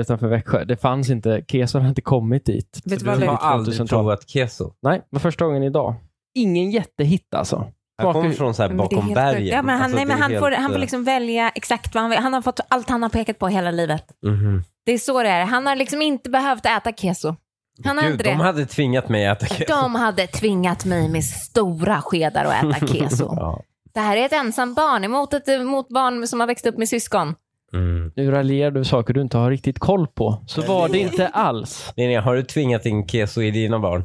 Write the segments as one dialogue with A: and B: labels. A: utanför Växjö. Det fanns inte, Keso hade inte kommit dit.
B: Vet du
A: Så
B: vad
A: det
B: det
A: var
B: är?
C: har
A: tidigt
C: aldrig
A: 2000-tal.
C: provat keso.
A: Nej, men första gången idag. Ingen jättehit alltså.
C: Han
A: Smakar
C: kommer
A: ju-
C: från så här
B: Men det är
C: bakom
B: helt
C: bergen.
B: sjukt. Ja, men han,
C: Alltså,
B: nej,
C: det
B: men
C: är
B: han, får,
C: helt,
B: han får
C: eh,
B: liksom välja exakt vad han vill. Han har fått allt han har pekat på hela livet.
C: mhm.
B: Det är så det är. Han har liksom inte behövt äta keso. Han har
C: Gud,
B: inte
C: de
B: det.
C: hade tvingat mig att äta keso.
B: De hade tvingat mig med stora skedar att äta keso.
C: Ja.
B: Det här är ett ensam barn emot ett mot barn som har växt upp med syskon.
C: Mm.
A: Nu raljerar du saker du inte har riktigt koll på. Så
C: Men
A: var
C: det-
A: det inte alls.
C: Linnea, har du tvingat in keso i dina barn?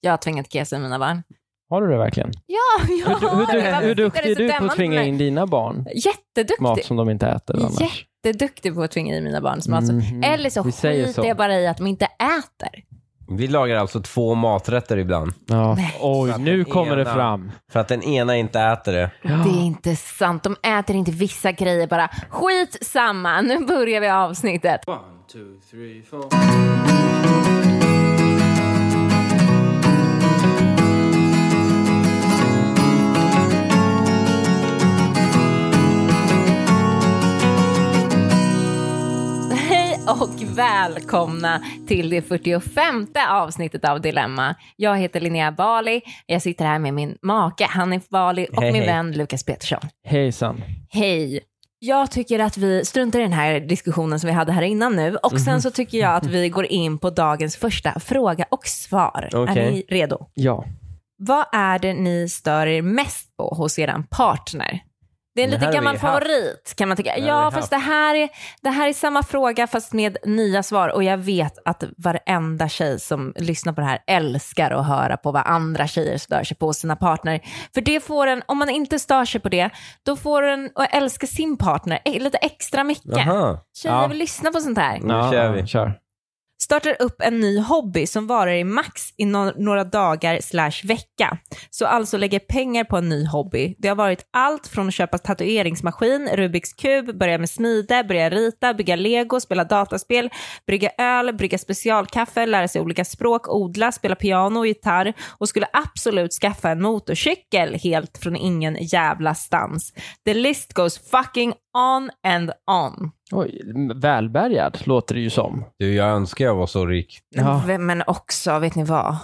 B: Jag har tvingat keso i mina barn.
A: Har du det verkligen?
B: Ja, jag
A: Hur,
B: har
A: hur,
B: det.
A: hur,
B: Varför
A: hur
B: tittar
A: duktig är
B: så
A: du på
B: dömande
A: att tvinga
B: mig?
A: in dina barn mat
B: Jätteduktig.
A: som de inte äter annars?
B: Jätteduktig på att tvinga i mina barn som alltså.
C: Mm.
A: Mhm.
B: Eller så
A: Vi säger
B: skiter
A: så.
B: jag bara i att de inte äter.
C: Vi lagar alltså två maträtter ibland.
A: Ja.
B: Nej.
A: Oj,
C: För att
A: nu
C: den
A: kommer det
C: ena-
A: fram.
C: För att den ena inte äter det.
B: Det är inte sant. De äter inte vissa grejer bara. Skit samma. Nu börjar vi avsnittet. Hej och välkomna till det 45 avsnittet av Dilemma. Jag heter Linnea Bali. Jag sitter här med min make Hanif Bali och
C: Hej,
B: min
C: hej.
B: vän Lukas Petersson.
A: Hejsan.
B: Hej! Jag tycker att vi struntar i den här diskussionen som vi hade här innan nu och
C: Mhm.
B: sen så tycker jag att vi går in på dagens första fråga och svar. Är
C: Okej.
B: ni redo?
A: Ja.
B: Vad är det ni stör er mest på hos er partner? Det är en
C: Det här
B: lite
C: har vi
B: gammal
C: haft.
B: favorit kan man tycka.
C: här har
B: Ja,
C: vi
B: fast
C: haft.
B: det här, är, det här är samma fråga fast med nya svar och jag vet att varenda tjej som lyssnar på det här älskar att höra på vad andra tjejer stör sig på hos sina partner. För det får en, om man inte stör sig på det, då får en att älska sin partner eh, lite extra mycket.
C: Jaha.
B: Tjejer
A: Ja.
B: vill lyssna på sånt här.
C: Nu kör vi.
A: Kör.
B: Startar upp en ny hobby som varar i max i no- några dagar slash vecka. Så alltså lägger pengar på en ny hobby. Det har varit allt från att köpa tatueringsmaskin, Rubiks kub, börja med smide, börja rita, bygga lego, spela dataspel, brygga öl, brygga specialkaffe, lära sig olika språk, odla, spela piano och gitarr och skulle absolut skaffa en motorcykel helt från ingen jävla stans. The list goes fucking on and on.
A: Oj, m- välbärgad låter det ju som.
C: Du, jag önskar jag var så rik.
A: Ja.
B: Men- Men också, vet ni vad?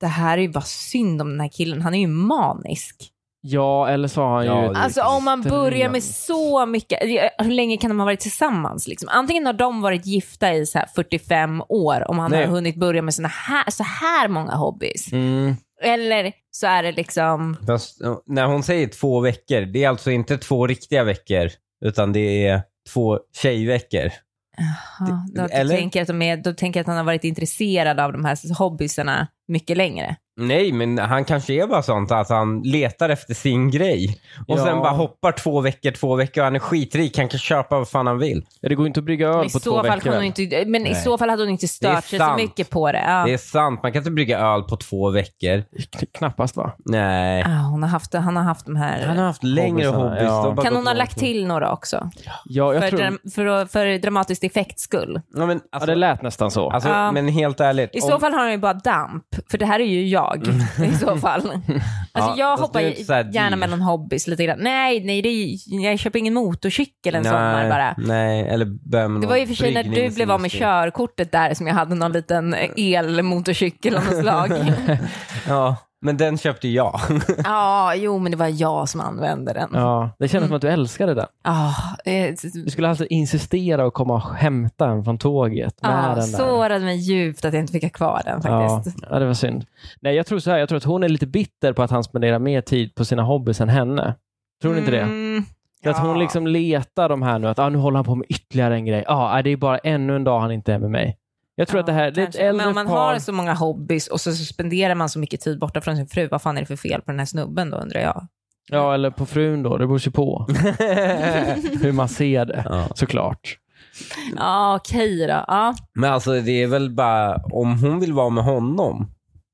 B: Det här är ju bara synd om den här killen. Han är ju manisk.
A: Ja, eller så har han
C: Ja,
A: ju...
C: det är
B: Alltså om man börjar med
A: extremt.
B: så mycket, hur länge kan de ha varit tillsammans? Liksom? Antingen har de varit gifta i så här 45 år, om han
C: Nej.
B: har hunnit börja med såna här, så här många hobbys.
A: Mm.
B: Eller så är det liksom,
C: Fast, eh, när hon säger två veckor, det är alltså inte två riktiga veckor, utan det är två tjejveckor.
B: ja, då,
C: eller-
B: tänker jag att de är, då tänker jag att han har varit intresserad av de här hobbysarna mycket längre.
C: Nej, men han kanske är bara sånt att han letar efter sin grej. Och
A: Ja.
C: sen bara hoppar två veckor, två veckor och han är skitrik. Han kan köpa vad fan han vill.
A: Ja, Det går inte att brygga öl
B: Men, i
A: på två
B: så, fall
A: veckor.
B: kan hon
A: eller?
B: inte, men i
C: Nej.
B: så fall hade hon inte stört sig så
C: sant.
B: mycket på det. Ja.
C: Det är sant, man kan inte brygga öl på två veckor.
A: Kn- Knappast va?
C: Nej.
B: Ah, hon har haft, han har haft de här...
C: Han har haft längre
A: Hobbysarna,
C: hobbys.
A: ja.
C: De har bara
B: Kan
C: gått
B: hon ha
C: långt.
B: lagt till några också?
A: Ja, jag
B: För,
A: tror...
B: dram, för, att- för dramatiskt effekts skull.
C: Ja, men,
A: Ja,
C: alltså,
A: det lät nästan så.
C: alltså,
B: Ja.
C: men helt ärligt.
B: Ah. I
C: om-
B: så fall har hon ju bara damp, för det här är ju jag i så fall. Alltså
C: Ja,
B: jag
C: fast
B: hoppar
C: det är inte så här dyrt.
B: gärna mellan hobbys lite grann. Nej, nej, det är, jag köper ingen motorcykel en
C: nej,
B: sommar bara.
C: Nej, eller börja med
B: Det
C: någon
B: var ju för sig när du blev av med
C: bryggningsindustri.
B: körkortet där som jag hade någon liten elmotorcykel av något slag.
C: Ja, men den köpte jag.
B: Ja, jo, men det var jag som använde den. Ja.
A: Ja, det kändes som att du älskade den.
B: eh,
A: Du skulle alltså insistera och komma och hämta den från tåget med
B: ja,
A: den där.
B: ah, sårade mig djupt att jag inte fick ha kvar den
A: Ja,
B: faktiskt.
A: ja, det var synd. Nej, jag tror så här, jag tror att hon är lite bitter på att han spenderar mer tid på sina hobbys än henne. Tror ni inte det?
B: Mm,
A: Att hon
B: ja.
A: liksom letar de här nu, att ah, nu håller han på med ytterligare en grej. Ah, det är bara ännu en dag han inte är med mig. Jag tror att det här, det är ett
B: Kanske.
A: äldre
B: Men om man
A: par.
B: har så många hobbys och så spenderar man så mycket tid borta från sin fru, vad fan är det för fel på den här snubben då undrar jag?
A: Ja, eller på frun då, det beror sig på hur man ser det,
C: Ja.
A: såklart.
B: Ja, okej då. Ja,
C: Men alltså det är väl bara om hon vill vara med honom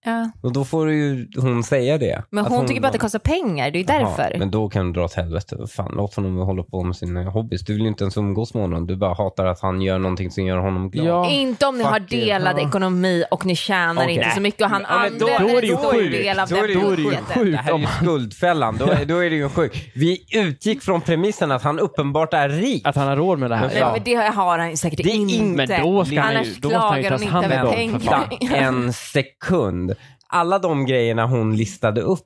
B: Ja.
C: Och då får ju hon säga det.
B: Men hon, tycker bara att det kostar pengar, det är ju därför.
C: Ja, men då kan du dra åt helvete. Vad Fan, låt honom hålla på med sina hobbys. Du vill ju inte ens umgås med honom. Du bara hatar att han gör någonting som gör honom glad.
A: Ja.
B: Inte om ni har
C: Fuck you.
B: delad
C: Ja.
B: ekonomi och ni tjänar
A: Okej.
B: inte så mycket och han
C: Ja, men då-
B: använder
A: då är det ju
B: en stor
A: sjukt.
B: del av
C: Då
B: den
C: är det ju
A: sjukt.
B: budgeten.
A: Sjukt.
C: Det här är ju skuldfällan. Då, är- då är det ju en sjuk. Vi utgick från premissen att han uppenbart är rik.
A: Att han har råd med det här.
B: Nej,
C: Ja.
B: men det har han ju säkert
C: Det är
B: inte.
C: inte-
A: Men då ska han ju,
B: Annars
A: då måste han ju
B: klagar
A: ta
B: hon
A: hand
B: inte
A: om
B: över
A: dem. för
B: pengar.
A: fan.
C: Vänta en sekund. Alla de grejerna hon listade upp,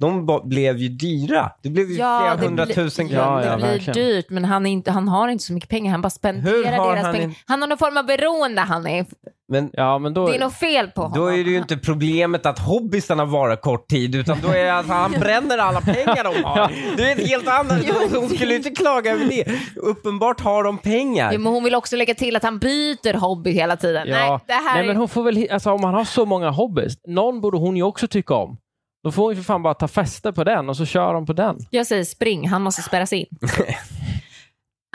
C: de ba- blev ju dyra. Det blev ju flera
B: det
C: hundratusen
B: blir-
A: Ja,
C: kronor.
B: det
A: ja,
B: blir
A: verkligen.
B: dyrt, men han, är inte, han har inte så mycket pengar. Han bara
C: Hur
B: spenderar
C: har
B: deras
C: han
B: pengar.
C: en-
B: Han har någon form av beroende han är.
C: Men
A: Ja, men då...
B: Det är något fel på honom.
C: då är det ju inte problemet att hobbysarna varar kort tid, utan då är det att han bränner alla pengar de har. Det är ett helt annat. Hon skulle ju inte klaga över det. Uppenbart har de pengar.
B: Jo, men hon vill också lägga till att han byter hobby hela tiden.
A: Ja.
B: Nej, det här
A: Nej, men
B: är...
A: hon får väl, hi- alltså, om han har så många hobbys, någon borde hon ju också tycka om. Då får hon ju för fan bara ta fäste på den och så kör hon på den.
B: Jag säger spring, han måste spärras in.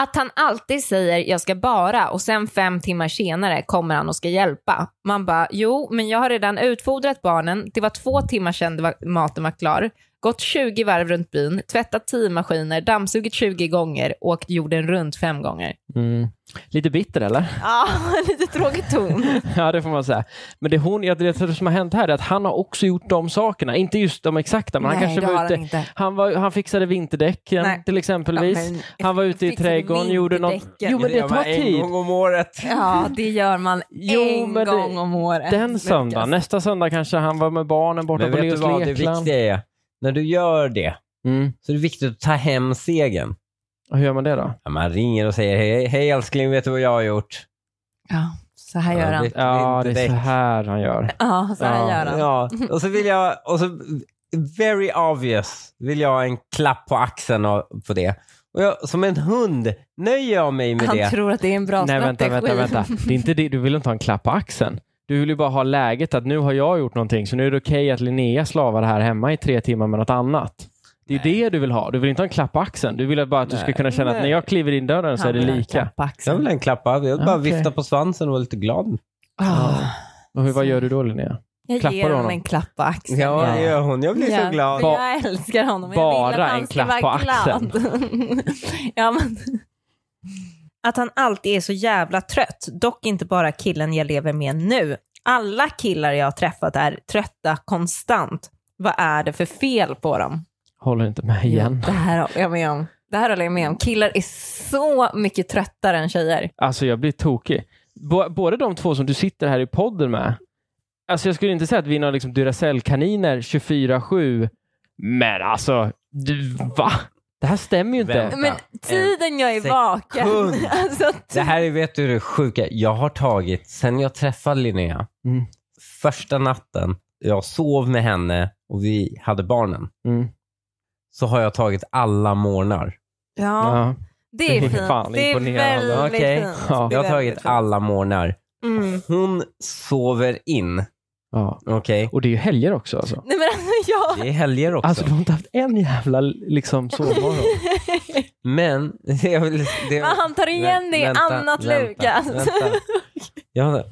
B: Att han alltid säger jag ska bara och sen fem timmar senare kommer han och ska hjälpa. Man bara, jo, men jag har redan utfodrat barnen. Det var två timmar sedan det var, maten var klar. Gått 20 varv runt byn, tvättat 10 maskiner, dammsugit 20 gånger, åkt jorden runt fem gånger.
A: Mm. Lite bitter eller?
B: Ja, lite tråkig ton.
A: ja, det får man säga. Men det, hon, jag- det som har hänt här är att han har också gjort de sakerna. Inte just de exakta, men
B: Nej,
A: han
B: det
A: kanske
B: har
A: var
B: han
A: ute...
B: inte.
A: Han, var, han fixade vinterdäcken
B: Nej.
A: till exempelvis.
B: Ja, men-
A: han var ute i
B: Fixa
A: trädgården, gjorde något...
B: vinterdäcken.
A: Jo, men det
C: gör man
A: tar tid.
C: En gång om året.
B: Ja, det gör man
A: Jo,
B: en
A: men det-
B: gång om året.
A: Den söndagen,
B: Lukas.
A: nästa söndag kanske han var med barnen borta
C: Men
A: på
C: vet du vad det
A: Leos Lekland.
C: viktiga är? När du gör det,
A: Mm.
C: så är det viktigt att ta hem segern.
A: Och Hur gör man det då?
C: Ja, man ringer och säger hej, hej älskling, vet du vad jag har gjort?
B: Ja, så här gör han.
C: det-
A: Ja,
C: inte
A: det är så
C: däck.
A: här han gör.
B: Ja, så här
A: Ja,
B: gör han.
C: Ja, och så vill jag, och så very obvious, vill jag ha en klapp på axeln och, på det. Och jag, som en hund nöjer jag mig med
B: Han
C: det.
B: tror att det är en bra
A: Nej, vänta,
B: strategi.
A: vänta, vänta. Det är inte det. Du vill inte ha en klapp på axeln. Du vill ju bara ha läget att nu har jag gjort någonting, så nu är det okej att Linnea slavar här hemma i tre timmar med något annat. Det är ju det du vill ha. Du vill inte ha en klapp på axeln. Du vill bara att du ska
C: Nej.
A: kunna känna att
C: Nej.
A: när jag kliver in dörren så är det lika.
C: Jag vill ha en klapp på axeln. Jag vill bara
A: Okej.
C: vifta på svansen och vara lite glad.
B: Ah,
A: Och hur, vad gör du då Linnea?
B: jag
A: Klappar
B: ger
A: du
B: honom
A: honom?
B: en klapp på axeln.
C: Ja, det gör hon. Jag blir
B: Ja,
C: så glad.
B: för Jag älskar honom. Jag
A: Bara
B: vill att han
A: en
B: ska
A: klapp
B: vara
A: på axeln.
B: glad. ja, men... Att han alltid är så jävla trött, dock inte bara killen jag lever med nu. Alla killar jag har träffat är trötta konstant. Vad är det för fel på dem?
A: Håller inte med igen.
B: Det här håller jag med om. Det här håller jag med om. Killar är så mycket tröttare än tjejer.
A: Alltså jag blir tokig. Bå- Både de två som du sitter här i podden med. Alltså jag skulle inte säga att vi är några liksom Duracell-kaniner 24-7. Men alltså, du, va? Det här stämmer ju inte.
C: Vem?
B: Men tiden jag är
C: sekund.
B: vaken. Alltså, t-
C: Det här är, vet du det sjuka? Jag har tagit, sen jag träffade Linnea,
A: Mm.
C: första natten, jag sov med henne och vi hade barnen,
A: Mm.
C: så har jag tagit alla morgnar.
B: ja,
A: Ja.
B: det är
A: det är
B: fint.
A: fan
B: det är
A: imponerande.
B: väldigt
C: Okej.
B: fint.
A: Ja.
B: Det är
C: Jag har
B: väldigt
C: tagit
B: fint.
C: alla morgnar.
B: Mm.
C: Hon sover in,
A: ja.
C: okej?
A: Och det är ju helger också alltså.
B: Nej men alltså jag...
C: Det är helger också.
A: Alltså du har inte haft en jävla liksom sovmorgon.
C: men, jag vill, det,
B: Men han tar igen det i
C: Vänta,
B: annat
C: vänta,
B: Lukas.
C: vänta. Jag har-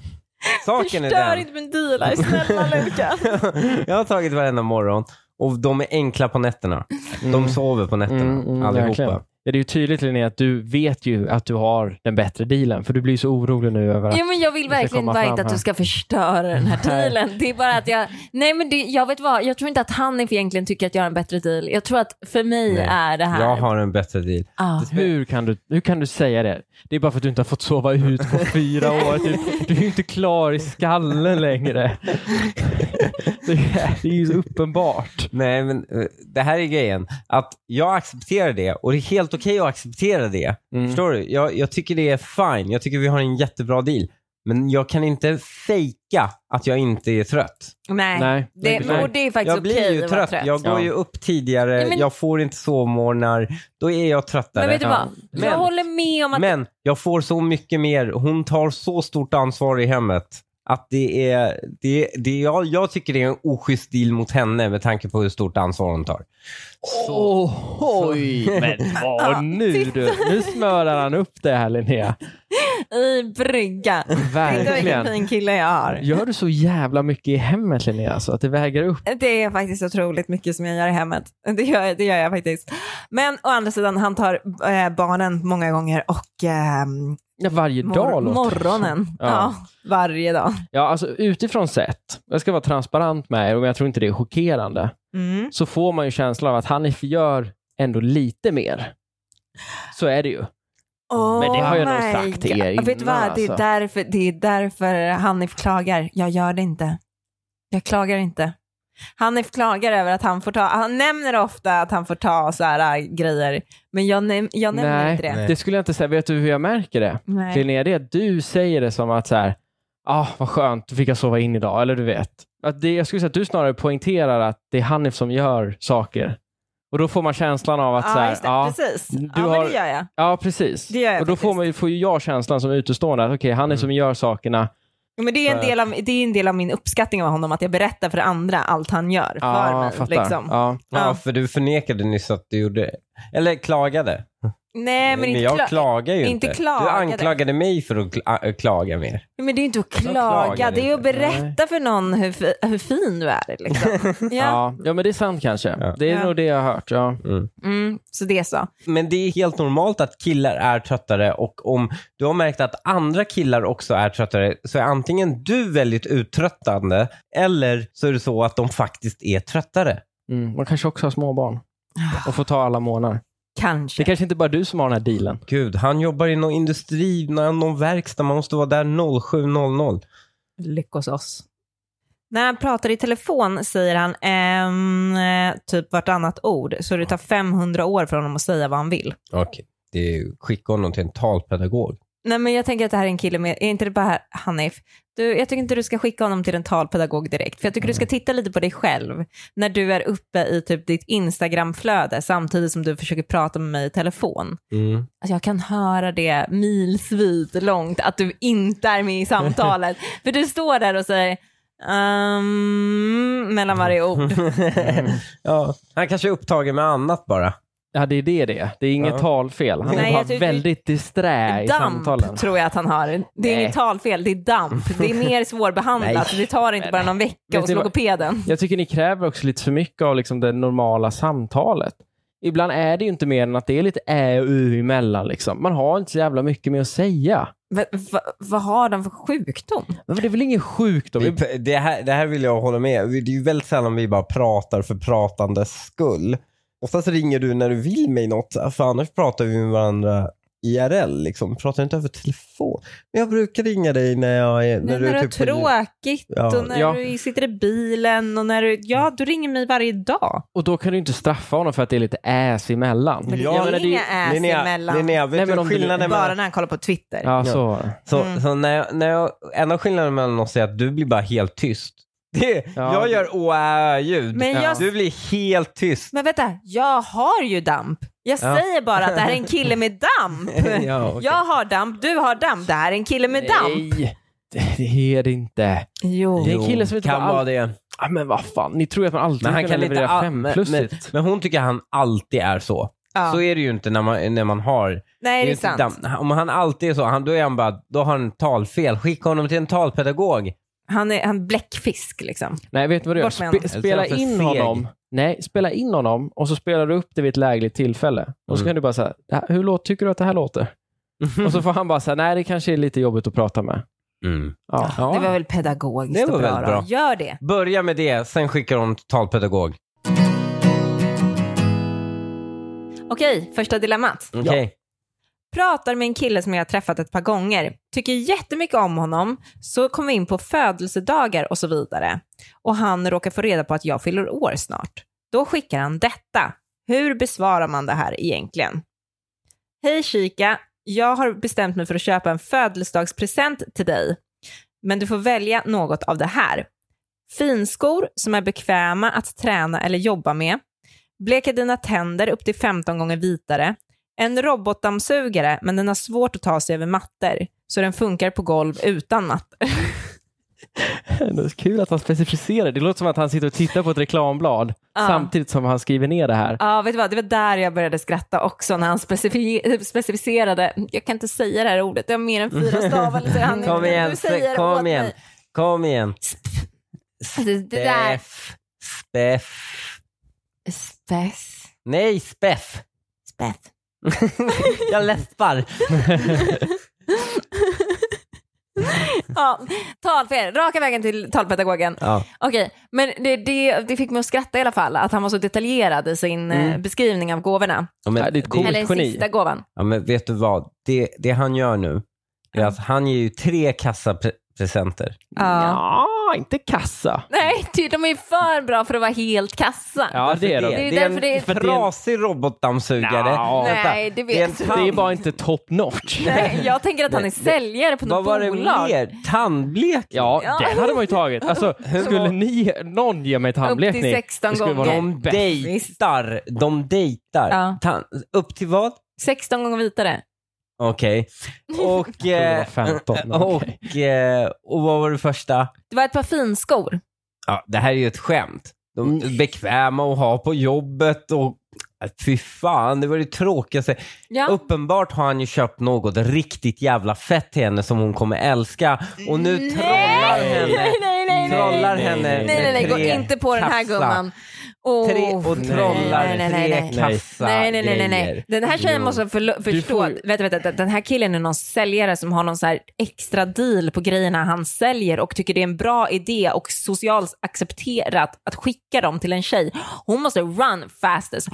C: saken är
B: Förstör
C: den.
B: inte min dealer, snälla Lukas.
C: jag har tagit varenda morgon och de är enkla på nätterna. De sover på nätterna
A: Mm, mm,
C: allihopa.
A: verkligen. Ja, det är ju tydligt Linnea att du vet ju att du har den bättre dealen för du blir ju så orolig nu över att
B: Jo, men jag vill
A: ska
B: verkligen
A: komma
B: bara
A: fram
B: inte att
A: här.
B: du ska förstöra den här dealen. Det är bara att jag... Nej men det, jag vet vad, jag tror inte att han egentligen tycker att jag har en bättre deal. Jag tror att för mig
C: Nej,
B: är det här...
C: Jag har en bättre deal.
B: Ah.
A: hur kan, du, hur kan du säga det? Det är bara för att du inte har fått sova ut på fyra år. Du, du är ju inte klar i skallen längre. Det är, det är ju så uppenbart.
C: Nej, men eh, det här är grejen. Att jag accepterar det och det är helt okej att acceptera det.
A: Mm.
C: Förstår du? Jag, jag tycker det är fine. Jag tycker vi har en jättebra deal. Men jag kan inte fejka att jag inte är trött.
B: Nej.
A: Nej.
B: Det,
A: Nej.
B: och det är faktiskt
C: Jag
B: okej
C: blir ju
B: att vara
C: trött.
B: trött.
C: Jag går
A: Ja.
C: ju upp tidigare.
B: Ja, men-
C: Jag får inte sovmorgnar. Då är jag tröttare.
B: Men vet du vad?
C: Ja.
B: jag
C: Men-
B: håller med om att...
C: Men jag får så mycket mer. Hon tar så stort ansvar i hemmet. att det är, det, det jag, jag tycker det är en oschysst deal mot henne med tanke på hur stort ansvar hon tar. Så-
A: Oj, men vad nu du? Nu smörar han upp det här Linnea.
B: I brygga. Tänk dig vilken
A: Verkligen.
B: fin kille jag har.
A: Gör du så jävla mycket i hemmet Linnea så att det väger upp?
B: Det är faktiskt otroligt mycket som jag gör i hemmet. Det gör, det gör jag faktiskt. Men å andra sidan, han tar eh, barnen många gånger och eh,
A: Ja, varje dag
B: mor-
A: låter det
B: morgonen.
A: som.
B: Ja.
A: Ja.
B: varje dag.
A: ja, alltså utifrån sett. Jag ska vara transparent med er, men jag tror inte det är chockerande.
B: Mm.
A: så får man ju känslan av att han gör ändå lite mer. Så är det ju. Men det har jag nog
B: my
A: sagt till er
B: God. Vet du vad,
A: innan,
B: det, är
A: alltså.
B: därför, det är därför Hanif klagar. Jag gör det inte. Jag klagar inte. Hanif klagar över att han får ta, han nämner ofta att han får ta så här äh, grejer, men jag, näm- jag nämner
A: Nej,
B: inte det.
A: det skulle jag inte säga. Vet du hur jag märker det?
B: Nej.
A: Linnea, det är att du säger det som att så här, ah, vad skönt, då fick jag sova in idag. Eller du vet. Att det, jag skulle säga att du snarare poängterar att det är Hanif som gör saker. Och då får man känslan av att så
B: ja,
A: här,
B: just det,
A: ja,
B: precis.
A: du
B: ja,
A: har-
B: men det gör jag.
A: ja, precis.
B: Det gör jag
A: och då får,
B: faktiskt.
A: man, ju- får ju jag känslan som utestående att okej, han
C: Mm.
A: är som gör sakerna.
B: Ja, Men det, är en
C: För-
B: del av, det är en del av min uppskattning av honom, att jag berättar för andra allt han gör för
A: Ja, jag
B: mig.
A: fattar.
B: Liksom.
A: Ja.
C: Ja,
B: Ja.
C: för du förnekade nyss att du gjorde, eller klagade.
B: Nej, men, inte
C: jag
B: kla-
C: klagar ju
B: inte
C: inte.
B: klagade.
C: Du anklagade mig för att kla- äh, klaga mer.
B: men det är inte att klaga,
C: klagar
B: det är att
C: inte.
B: berätta för någon hur, fi- hur fin du är. Liksom. Ja.
A: Ja. ja, men det är sant kanske.
C: Ja.
A: Det är
B: Ja.
A: nog det jag har hört. Ja.
B: Mm, så det är så.
C: Men det är helt normalt att killar är tröttare och om du har märkt att andra killar också är tröttare så är antingen du väldigt uttröttande eller så är det så att de faktiskt är tröttare.
A: Mm. Man kanske också har småbarn och får ta alla månader. Ah, Det
B: Kanske.
A: är kanske inte bara du som har den här dealen.
C: Gud, han jobbar i någon industri, någon verkstad, man måste vara där 07.00.
B: Lyckos oss. När han pratar i telefon säger han ehm, eh, typ vartannat ord, så det tar 500 år för honom att säga vad han vill.
C: Okej, det är skicka honom till en talpedagog.
B: Nej men jag tänker att det här är en kille med, är inte det bara Hanif? Du, jag tycker inte du ska skicka honom till en talpedagog direkt, för jag tycker du ska titta lite på dig själv när du är uppe i typ ditt Instagramflöde samtidigt som du försöker prata med mig i telefon.
C: Mm.
B: Alltså jag kan höra det milsvitt långt att du inte är med i samtalet, för du står där och säger um, mellan varje ord.
C: ja. Han kanske är upptagen med annat bara.
A: Ja, det är det det är. Det är inget
C: Ja.
A: talfel. Han
B: Nej,
A: är
B: jag
A: bara
B: tycker-
A: väldigt disträ i samtalen.
B: Damp tror jag att han har. Det är
A: Nej.
B: inget talfel, det är damp. Det är mer svårbehandlat,
C: Nej.
B: det tar inte bara någon vecka
A: Vet
B: hos
A: ni vad-
B: logopeden.
A: Jag tycker ni kräver också lite för mycket av liksom det normala samtalet. Ibland är det ju inte mer än att det är lite ä och u emellan. Liksom. Man har inte så jävla mycket med att säga.
B: Va, va, vad har de för sjukdom?
A: Men det är väl ingen sjukdom?
C: Vi, p- det, här, det här vill jag hålla med. Det är ju väldigt sällan vi bara pratar för pratandets skull. Oftast ringer du när du vill mig något, för annars pratar vi med varandra IRL. Liksom. Pratar inte över telefon. Men jag brukar ringa dig när jag är... typ
B: När, när du har
C: på-
B: tråkigt
C: Ja.
B: och när
A: Ja.
B: du sitter i bilen och när du, ja du ringer mig varje dag.
A: Och då kan du inte straffa honom för att det är lite äs emellan.
C: Men det
A: Jag
C: är
A: menar,
B: inga äs emellan.
C: Linnea,
A: Nej,
C: vet
A: men
C: du
A: om du-
C: skillnaden mellan...
B: Bara när han kollar på Twitter.
A: Ja, så var det.
C: Så,
B: Mm.
C: så när jag, när jag, en av skillnaderna mellan oss är att du blir bara helt tyst. Det,
A: Ja.
C: Jag gör oä ljud
B: Men jag-
C: Du blir helt tyst.
B: Men vänta, jag har ju damp. Jag
C: Ja.
B: säger bara att det här är en kille med damp.
C: Ja, okej.
B: Jag har damp, du har damp, det här är en kille med damp.
A: Nej, det- det är det inte.
B: Jo.
A: Det är en kille som inte
C: kan
A: bara all-
C: vara det.
A: Ah, men vad fan, ni tror att man alltid
C: Men han
A: kan, ah,
C: kan
A: leverera
C: inte all- men, men,
A: femplussigt.
C: men hon tycker han alltid är så.
B: Ja.
C: Så är det ju inte när man, när man har...
B: Nej, det är
C: ju inte
B: sant.
C: dam- Om han alltid är så, han, då är han bara, då har han talfel. Skicka honom till en talpedagog.
B: Han är han är bläckfisk liksom.
A: Nej, vet du vad du gör?
B: Bort med honom.
A: Spe- spela
C: Eller så är han
A: in
C: för seg.
A: honom. Nej, spela in honom och så spelar du upp det vid ett lägligt tillfälle. Och så
C: Mm.
A: kan du bara säga, "Det här- hur låt, tycker du att det här låter? och så får han bara säga, nej det kanske är lite jobbigt att prata med. Ja.
C: Ja.
B: Det var väl pedagogiskt
C: Det
B: och
C: var
B: bra,
C: väldigt bra.
B: då. Gör det.
C: Börja med det, sen skickar hon till talpedagog.
B: Okej, första dilemmat.
C: Okej.
B: Pratar med en kille som jag har träffat ett par gånger. Tycker jättemycket om honom. Så kommer vi in på födelsedagar och så vidare. Och han råkar få reda på att jag fyller år snart. Då skickar han detta. Hur besvarar man det här egentligen? Hej Kika, jag har bestämt mig för att köpa en födelsedagspresent till dig. Men du får välja något av det här. Finskor som är bekväma att träna eller jobba med. Bleka dina tänder upp till 15 gånger vitare. En robotdammsugare, men den har svårt att ta sig över mattor, så den funkar på golv utan mattor.
A: Ändå är det kul att han specificerar. Det låter som att han sitter och tittar på ett reklamblad samtidigt som han skriver ner det här.
B: Ja, vet du vad? Det var där jag började skratta också när han specifi- specificerade. Jag kan inte säga det här ordet, det har mer än fyra stavelser. Han-
C: Kom
B: du
C: igen,
B: säger åt
C: kom
B: mig.
C: igen, kom igen.
B: Det där.
C: Speff. Speff.
B: Spess.
C: Nej, speff.
B: Spess.
C: Jag läspar.
B: Ja, talfel. Raka vägen till talpedagogen.
C: Ja.
B: Okej, men det, det, det fick mig att skratta i alla fall, att han var så detaljerad i sin eh, beskrivning av gåvorna.
C: Ja,
A: Ja,
C: men,
A: det är ett coolt
B: Eller
A: geni.
B: sista gåvan.
C: ja, men vet du vad? Det, det han gör nu är att han ger ju tre kassapresenter.
B: Ja.
A: Ja, inte kassa.
B: Nej, ty- de är ju för bra för att vara helt kassa.
A: Ja, det är
B: Det
A: de.
B: är
C: Det är
B: därför det är-
C: en trasig robotdammsugare.
A: Nja.
C: Vänta,
B: Nej, det
C: det är en
B: vet
C: tand.
A: Det är bara inte top notch.
B: Nej, jag tänker att han är
C: Det- det-
B: säljare på
C: Vad
B: något
C: var det
B: bolag.
C: mer? Tandblek?
A: Ja,
B: Ja.
A: den hade man ju tagit. Alltså, skulle ni, någon ge mig tandblekning?
B: Upp till 16
A: det skulle vara
B: gånger.
A: de bästa.
C: Dejtar. De dejtar.
B: Ja.
C: Tan- upp till vad?
B: 16 gånger vitare.
C: Okej. Och,
A: Jag trodde
C: eh,
A: det var 15, men okej.
C: och, eh, och vad var det första?
B: Det var ett par finskor.
C: Ja, det här är ju ett skämt. De
B: Mm.
C: är bekväma att ha på jobbet och äh, Fy fan, det var det tråkigaste.
B: Ja.
C: Uppenbart har han ju köpt något riktigt jävla fett till henne som hon kommer älska och nu
B: Nej!
C: trollar henne.
B: Nej, nej, nej, nej.
C: Trollar
A: nej,
C: henne
A: nej,
B: Nej, nej, nej,
C: med
B: gå
C: tre
B: inte på den här
C: kassa.
B: gumman. Åh,
C: Tre och
B: nej,
C: trollar
B: nej, nej, nej, nej.
C: tre kassa
B: Nej, nej, nej, nej,
C: grejer.
B: nej. Den här tjejen måste förlo- förstå.
A: får-
B: att- Vänta, vänta, vänta. Den här killen är någon säljare som har någon så här extra deal på grejerna han säljer och tycker det är en bra idé och socialt accepterat att skicka dem till en tjej. Hon måste run fastest.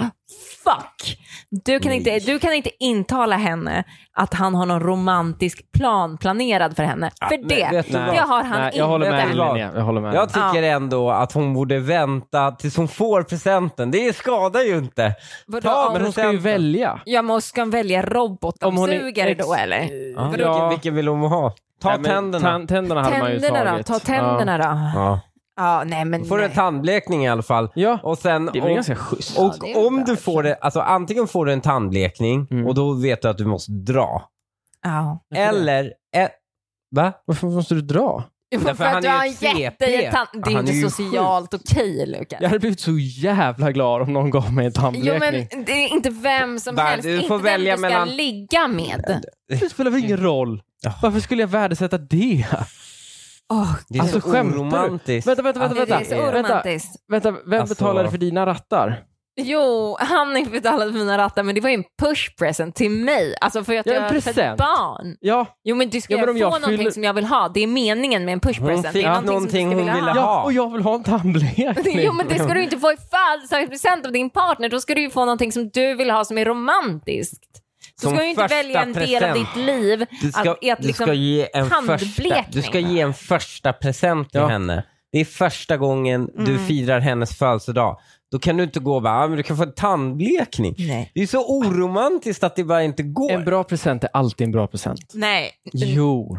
B: Fuck! Du kan, inte, du kan inte intala henne att han har någon romantisk plan planerad för henne. för
C: men
B: det,
C: Ah, vet du
B: det
C: vad?
B: har han
A: Nej,
B: inte.
A: jag håller med dig,
C: Vet du vad?
A: Linnea. Jag håller med.
C: Jag
A: dig.
C: tycker ändå att hon borde vänta tills hon får presenten. Det skadar ju inte.
B: Vadå?
C: Ta
A: Men hon ska ju
C: presenten.
A: välja.
B: Ja, men ska hon välja robotdammsugare
A: ex-
B: då eller?
C: Ja.
A: Ja.
C: Eh, Vilken, vilken vill hon ha? Ta
A: Nej, men
C: tänderna.
A: tan- tänderna hade man ju
B: Tänderna då?
A: tagit.
B: Ta tänderna då.
C: ja.
B: Ja, nej men
C: Då får du en
B: nej.
C: tandblekning i alla fall.
A: Ja,
C: Och sen,
A: det är väl
C: och,
A: ganska schysst.
C: och
B: Ja, det är väl
C: om
B: bra,
C: du får det, alltså antingen får du en tandblekning
A: Mm.
C: och då vet du att du måste dra.
B: Ja.
A: Varför det?
C: Eller, eh, va?
A: Varför måste du dra?
B: För,
C: han
B: att du
C: är ju
B: har en
C: ett CP.
B: jätte i tand- Det är
C: Han
B: ju
C: är ju
B: inte socialt okej Lukas.
A: Jag hade blivit så jävla glad om någon gav mig en
B: Jo
A: tandblekning.
B: men det är inte vem som
C: Bara,
B: helst,
C: du får
B: inte
C: välja
B: vem du ska
C: mellan-
B: ligga med.
A: Det spelar väl ingen roll?
C: Ja.
A: Varför skulle jag värdesätta det?
B: Åh,
C: Det är
A: Alltså,
C: så
A: skämtar du?
C: oromantiskt.
A: Vänta, vänta, vänta.
B: det
A: vänta.
B: är så
A: vänta,
B: oromantiskt.
A: vänta. Vem
C: Alltså-
A: betalade för dina rattar?
B: Jo, han betalade för mina rattar men det var ju en push present till mig. Alltså för att
A: Ja, en
B: jag har fött
A: present.
B: barn.
A: Ja,
B: Jo men du ska
A: Ja, men
B: ju
A: om
B: få
A: jag
B: någonting
A: fyller-
B: som jag vill ha. Det är meningen med en push
C: Hon
B: present. det
C: fick
B: är
C: någonting
B: som du
C: hon
B: ska vilja
C: ville
B: ha.
C: ha.
A: ja och jag vill ha en tandblekning.
B: Jo men det ska du inte få i födelsedagspresent av din partner. Då ska du ju få någonting som du vill ha som är romantiskt. Du
C: Som
B: ska ju inte
C: första
B: välja en del av
C: present.
B: ditt liv.
C: Du ska,
B: att, i att
C: du
B: liksom,
C: ska ge en första,
B: tandblekning.
C: du ska ge en första present till
A: Ja.
C: henne. Det är första gången du
B: Mm.
C: firar hennes födelsedag. Då kan du inte gå och bara, "Ah, men du kan få en tandblekning.
B: Nej.
C: Det är så oromantiskt att det bara inte går.
A: En bra present är alltid en bra present.
B: Nej.
A: Jo.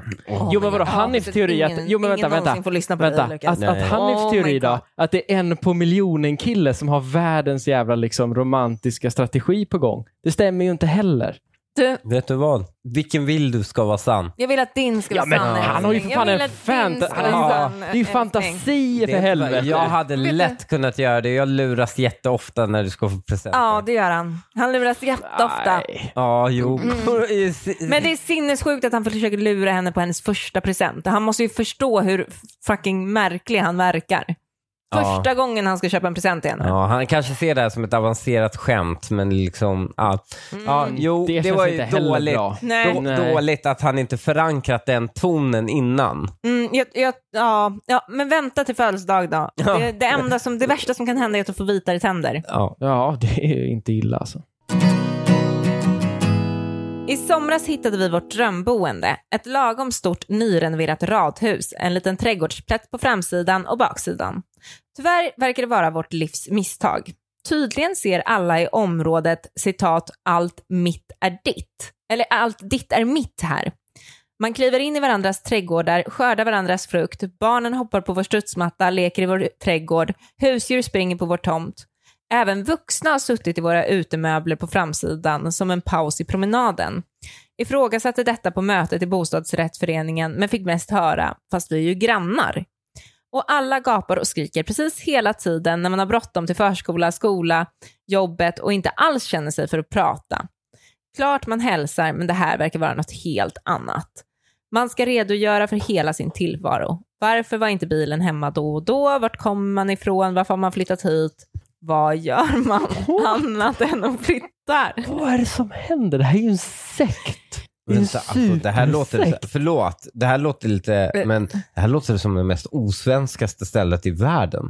A: Jo men vadå,
B: Ja,
A: Hanifs
B: precis.
A: teori att...
B: Ingen-
A: Jo men
B: ingen
A: vänta,
B: någonsin
A: vänta.
B: får lyssna på
A: Vänta,
B: dig, Lukas.
A: att, att
C: Nej.
A: Hanifs
B: Oh my
A: teori då,
B: God.
A: att det är en på miljonen kille som har världens jävla liksom, romantiska strategi på gång. Det stämmer ju inte heller.
B: Du,
C: Vet du vad? Vilken vill du ska vara sann?
B: jag vill att din ska
A: Ja,
B: vara
A: men
B: sann.
A: han har ju för
B: älskling.
A: fan
B: Jag
A: en
B: vill att
A: fanta-
B: din ska
A: han
B: vara
C: har-
B: sann,
A: Det är ju
B: älskling.
A: fantasier för
C: Vet du vad?
A: helvete.
C: Jag hade
B: du-
C: lätt kunnat göra det. Jag luras jätteofta när du ska få presenter.
B: Ja, det gör han. Han luras jätteofta.
A: Nej.
C: Ja, jo.
B: Mm. Men det är sinnessjukt att han försöker lura henne på hennes första present. Han måste ju förstå hur fucking märklig han verkar.
C: Ja.
B: Första gången han ska köpa en present till henne.
C: Ja, han kanske ser det här som ett avancerat skämt, men liksom... Ja,
B: Mm.
C: ja jo,
A: Det
C: det,
A: känns
C: var
A: inte
C: ju
A: heller
C: dåligt.
A: bra.
B: Nej.
C: Då,
A: Nej.
C: dåligt att han inte förankrat den tonen innan.
B: Mm, jag, jag, ja, ja, men vänta till födelsedag då. Det, det, enda som, det värsta som kan hända är att du får vitare tänder.
C: Ja.
A: Ja, det är ju inte illa alltså.
B: I somras hittade vi vårt drömboende. Ett lagom stort nyrenoverat radhus, en liten trädgårdsplätt på framsidan och baksidan. Tyvärr verkar det vara vårt livs misstag. Tydligen ser alla i området citat “allt mitt är ditt” eller “allt ditt är mitt här”. Man kliver in i varandras trädgårdar, skördar varandras frukt, barnen hoppar på vår studsmatta, leker i vår trädgård, husdjur springer på vår tomt. Även vuxna har suttit i våra utemöbler på framsidan som en paus i promenaden. Ifrågasatte detta på mötet i bostadsrättsföreningen men fick mest höra, fast vi är ju grannar. Och alla gapar och skriker precis hela tiden när man har bråttom till förskola, skola, jobbet och inte alls känner sig för att prata. Klart man hälsar, men det här verkar vara något helt annat. Man ska redogöra för hela sin tillvaro. Varför var inte bilen hemma då och då? Vart kommer man ifrån? Varför har man flyttat hit? Vad gör man annat än att flytta?
A: Vad är det som händer? Det här är ju en sekt. Det är en
C: Vänta, alltså, det här låter,
A: supersekt.
C: förlåt, det här låter lite, men det här låter som det mest osvenskaste stället i världen.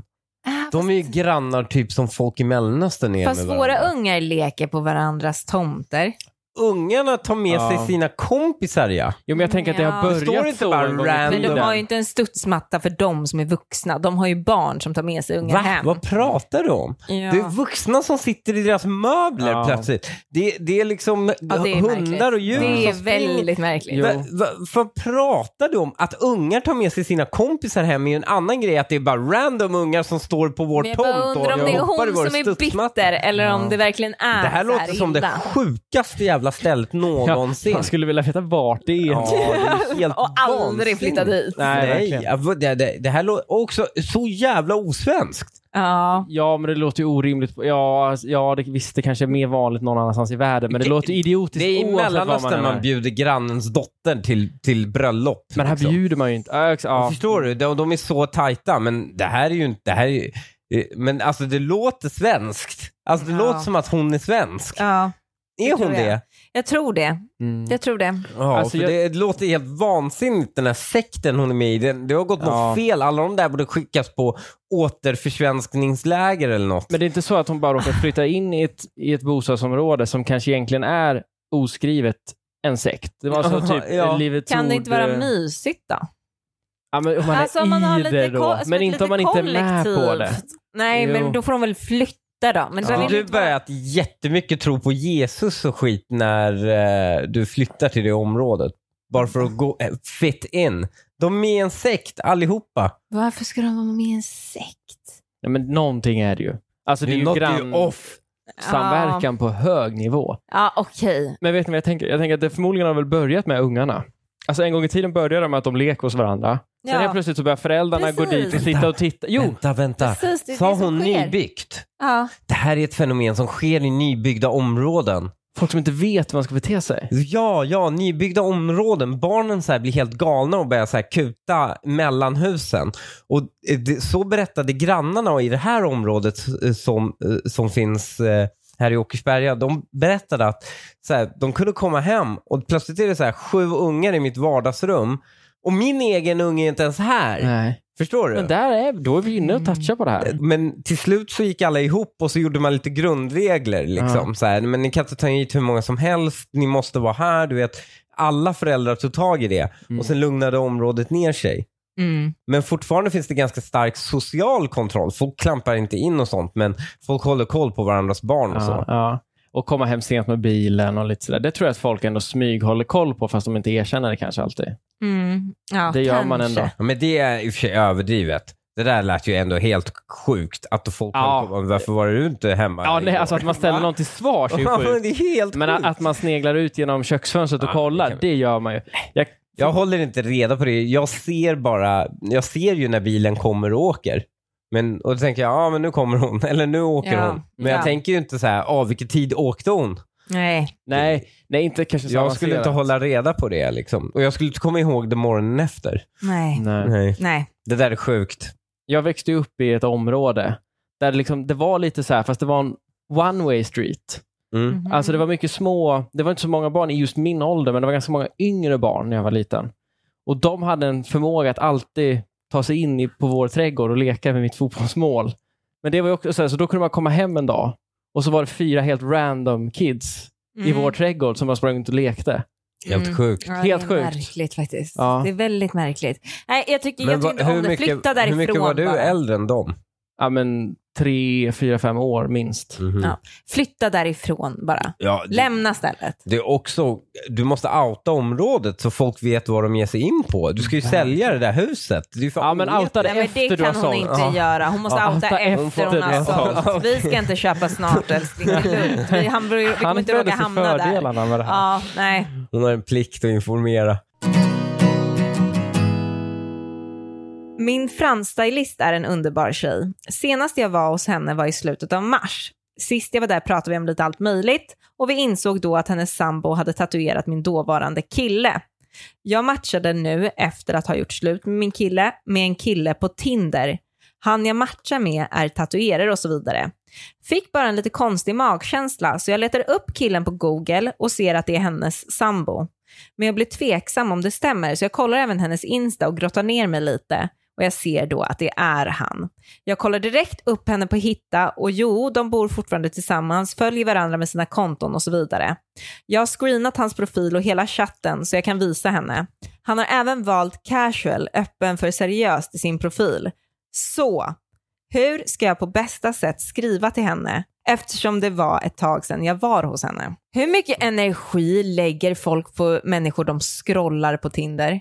C: De är ju grannar typ som folk i Mellanöstern är
B: Äh, Fast
C: med
B: våra
C: varandra.
B: ungar leker på varandras tomter.
C: Ungarna tar med
D: Ja.
C: sig sina kompisar ja.
A: Jo, men jag tänker att det
B: Ja.
A: har
C: Står det
A: börjat
C: inte
A: så
C: bara
A: en gång i
C: random?
B: Men de
A: tiden.
B: har ju inte en studsmatta för de som är vuxna. De har ju barn som tar med sig ungar
C: Va?
B: hem.
C: Vad pratar du om?
B: Ja.
C: Det är vuxna som sitter i deras möbler
A: Ja.
C: plötsligt. Det, det är liksom
B: Ja, det är
C: hundar
B: märkligt.
C: och djur
B: Det är
C: som springer.
B: väldigt märkligt.
A: Jo.
C: Va, va, vad pratar du om? Att ungar tar med sig sina kompisar hem är ju en annan grej. Att det är bara random ungar som står på vår
B: Men jag
C: tomt
B: bara undrar om
C: och
B: det är
C: hoppar i vår
B: hon som är
C: studsmatta.
B: bitter eller om
A: Ja.
B: det verkligen är
C: Det här
B: så
C: låter som det
B: illa.
C: sjukaste jävla stället någonsin.
A: Man skulle vilja veta vart det är.
C: Ja, det är helt
B: Och aldrig
C: vansinnigt.
B: flytta dit.
A: Nej,
C: Nej,
A: verkligen.
C: ja, vad- det, det, det här låter också så jävla osvenskt.
B: Ja.
A: Ja, men det låter ju orimligt. Ja, alltså, ja det, visst, det kanske är mer vanligt någon annanstans i världen, men det,
C: Det-
A: låter ju idiotiskt
C: Det är i
A: oavsett vad man,
C: Mellanöstern
A: än
C: man,
A: är.
C: bjuder grannens dotter till, till bröllop.
A: Men här
C: liksom.
A: bjuder man ju inte. Ja, ex- ja.
C: Förstår du? De, de är så tajta, men det här är ju inte... Det här är ju, eh, men alltså det låter svenskt. Alltså det
B: Ja.
C: låter som att hon är svensk.
B: ja.
C: är
B: tror
C: hon
B: jag.
C: det?
B: Jag tror det.
A: Mm.
C: Mm.
B: Jag tror det.
C: Ja,
A: Alltså,
C: för
A: jag-
C: det låter helt vansinnigt den här sekten hon är med i. Det, det har gått
A: Ja.
C: något fel. Alla de där borde skickas på återförsvenskningsläger eller något.
A: Men det är inte så att hon bara råkar flytta in i ett, i ett bostadsområde som kanske egentligen är oskrivet en sekt. Det var så typ
C: Ja.
A: Livets
B: Kan det
A: Ord,
B: inte vara
A: eh,
B: mysigt då?
A: Ja, men om man
B: Alltså,
A: är
B: om man har
A: i
B: lite
A: det
B: ko-
A: då.
B: som
A: Men
B: ett
A: inte om man
B: litet
A: inte är med på det.
B: kollektiv. Nej,
A: Jo.
B: men då får de väl flytta då. Men
A: Ja.
B: det vill
C: Du
B: inte vara-
C: börjat jättemycket tro på Jesus och skit när eh, du flyttar till det området. Bara för att gå, eh, fit in. De är med i en sekt allihopa.
B: Varför ska de vara med i en sekt?
A: Nej, men någonting är det ju. Alltså det är ju
C: något är ju
A: grannsamverkan
C: off.
A: på hög nivå.
B: Ja, okej.
A: Men vet ni vad jag tänker? Jag tänker att det förmodligen har väl börjat med ungarna. Alltså en gång i tiden började de med att de leker hos varandra. Sen helt
B: Ja,
A: plötsligt så börjar föräldrarna gå
B: Precis.
A: dit och sitta och titta. Jo,
C: Vänta, vänta.
B: precis. Det är
C: Sa
B: det som
C: hon
B: sker.
C: nybyggt?
B: Ja.
C: Det här är ett fenomen som sker i nybyggda områden.
A: folk som inte vet hur man ska bete sig.
C: Ja, ja, nybyggda områden. Barnen så här blir helt galna och börjar så här kuta mellan husen. Och eh, det, så berättade grannarna i det här området eh, som, eh, som finns eh, här i Åkersberga. De berättade att så här, de kunde komma hem och plötsligt är det så här, sju ungar i mitt vardagsrum. Och min egen unge är inte ens här.
A: Nej.
C: Förstår du?
A: Men där är, då är vi inne
B: Mm.
A: och touchar på det här.
C: Men till slut så gick alla ihop och så gjorde man lite grundregler. Liksom, så här, men ni kan inte ta hit hur många som helst, ni måste vara här. Du vet, alla föräldrar tog tag i det
A: Mm.
C: och sen lugnade området ner sig.
B: Mm.
C: Men fortfarande finns det ganska stark social kontroll. Folk klampar inte in och sånt, men folk håller koll på varandras barn och
A: Ja,
C: så.
A: ja. Och komma hem sent med bilen och lite sådär. Det tror jag att folk ändå smyghåller koll på fast de inte erkänner det kanske alltid.
B: Mm. Ja,
A: det gör man
B: kanske.
A: ändå.
C: Ja, men det är i och för sig överdrivet. Det där lät ju ändå helt sjukt. Att folk
A: Ja.
C: höll på, varför var du inte hemma?
A: Ja, nej,
C: igår?"
A: alltså att man ställer
C: Va?
A: någon till svars är ju
C: Ja, men
A: sjukt.
C: det är helt
A: Men
C: sjukt.
A: att man sneglar ut genom köksfönstret och
C: Ja,
A: kollar,
C: det kan
A: det gör man ju. Jag,
C: Jag håller inte reda på det. Jag ser bara, jag ser ju när bilen kommer och åker. Men, och då tänker jag, ja ah, men nu kommer hon, eller nu åker
B: Ja.
C: hon. Men
B: Ja.
C: jag tänker ju inte så här, ah, vilken tid åkte hon?
B: Nej.
A: nej, nej, inte kanske så
C: Jag skulle inte
A: avancerat.
C: hålla reda på det liksom. Och jag skulle inte komma ihåg det morgonen efter.
B: Nej.
A: Nej.
C: Nej.
B: Nej.
C: Det där är sjukt.
A: Jag växte ju upp i ett område där det liksom, det var lite så här, fast det var en one way street.
C: Mm.
B: Mhm.
A: Alltså det var mycket små, det var inte så många barn i just min ålder, men det var ganska många yngre barn när jag var liten. Och de hade en förmåga att alltid ta sig in i, på vår trädgård och leka med mitt fotbollsmål. Men det var ju också så, här, så då kunde man komma hem en dag och så var det fyra helt random kids i
B: Mm.
A: vår trädgård som bara sprang runt och lekte.
C: Helt
B: Mm.
C: sjukt.
B: Ja,
A: Helt
B: det är
A: sjukt.
B: märkligt faktiskt.
A: Ja.
B: Det är väldigt märkligt. Nej, jag tycker, jag
C: va-
B: tycker inte om det. Flytta
C: hur
B: därifrån
C: mycket var du
B: bara.
C: äldre än dem?
A: Ja, men tre, fyra, fem år minst.
B: Ja. Flytta därifrån bara.
C: Ja, det,
B: Lämna stället.
C: det är också, du måste outa området så folk vet vad de ger sig in på. Du ska ju sälja det där huset. Det är ju för
A: Ja, men
C: oetiskt.
A: outa det
B: Nej, men
A: efter
B: det
A: du har
B: kan hon
A: sålt. Ja.
B: inte göra. Hon måste
A: Ja,
B: outa
A: outa
B: efter
A: efter
B: hon
A: du
B: har
A: har
B: sålt.
A: sålt.
B: Vi ska inte köpa snart älskling. Det är lugnt. Vi, han, vi kommer
A: Han
B: inte råka
A: började se
B: hamna där.
A: fördelarna med det här.
B: Ja, nej.
C: Hon har en plikt att informera.
B: Min fransstylist är en underbar tjej. Senast jag var hos henne var i slutet av mars. Sist jag var där pratade vi om lite allt möjligt och vi insåg då att hennes sambo hade tatuerat min dåvarande kille. Jag matchade nu, efter att ha gjort slut med min kille, med en kille på Tinder. Han jag matchar med är tatuerare och så vidare. Fick bara en lite konstig magkänsla så jag letar upp killen på Google och ser att det är hennes sambo. Men jag blir tveksam om det stämmer så jag kollar även hennes Insta och grottar ner mig lite och jag ser då att det är han. Jag kollar direkt upp henne på Hitta och jo, de bor fortfarande tillsammans, följer varandra med sina konton och så vidare. Jag har screenat hans profil och hela chatten så jag kan visa henne. Han har även valt casual, öppen för seriöst i sin profil. Så, hur ska jag på bästa sätt skriva till henne eftersom det var ett tag sedan jag var hos henne? Hur mycket energi lägger folk på människor de scrollar på Tinder?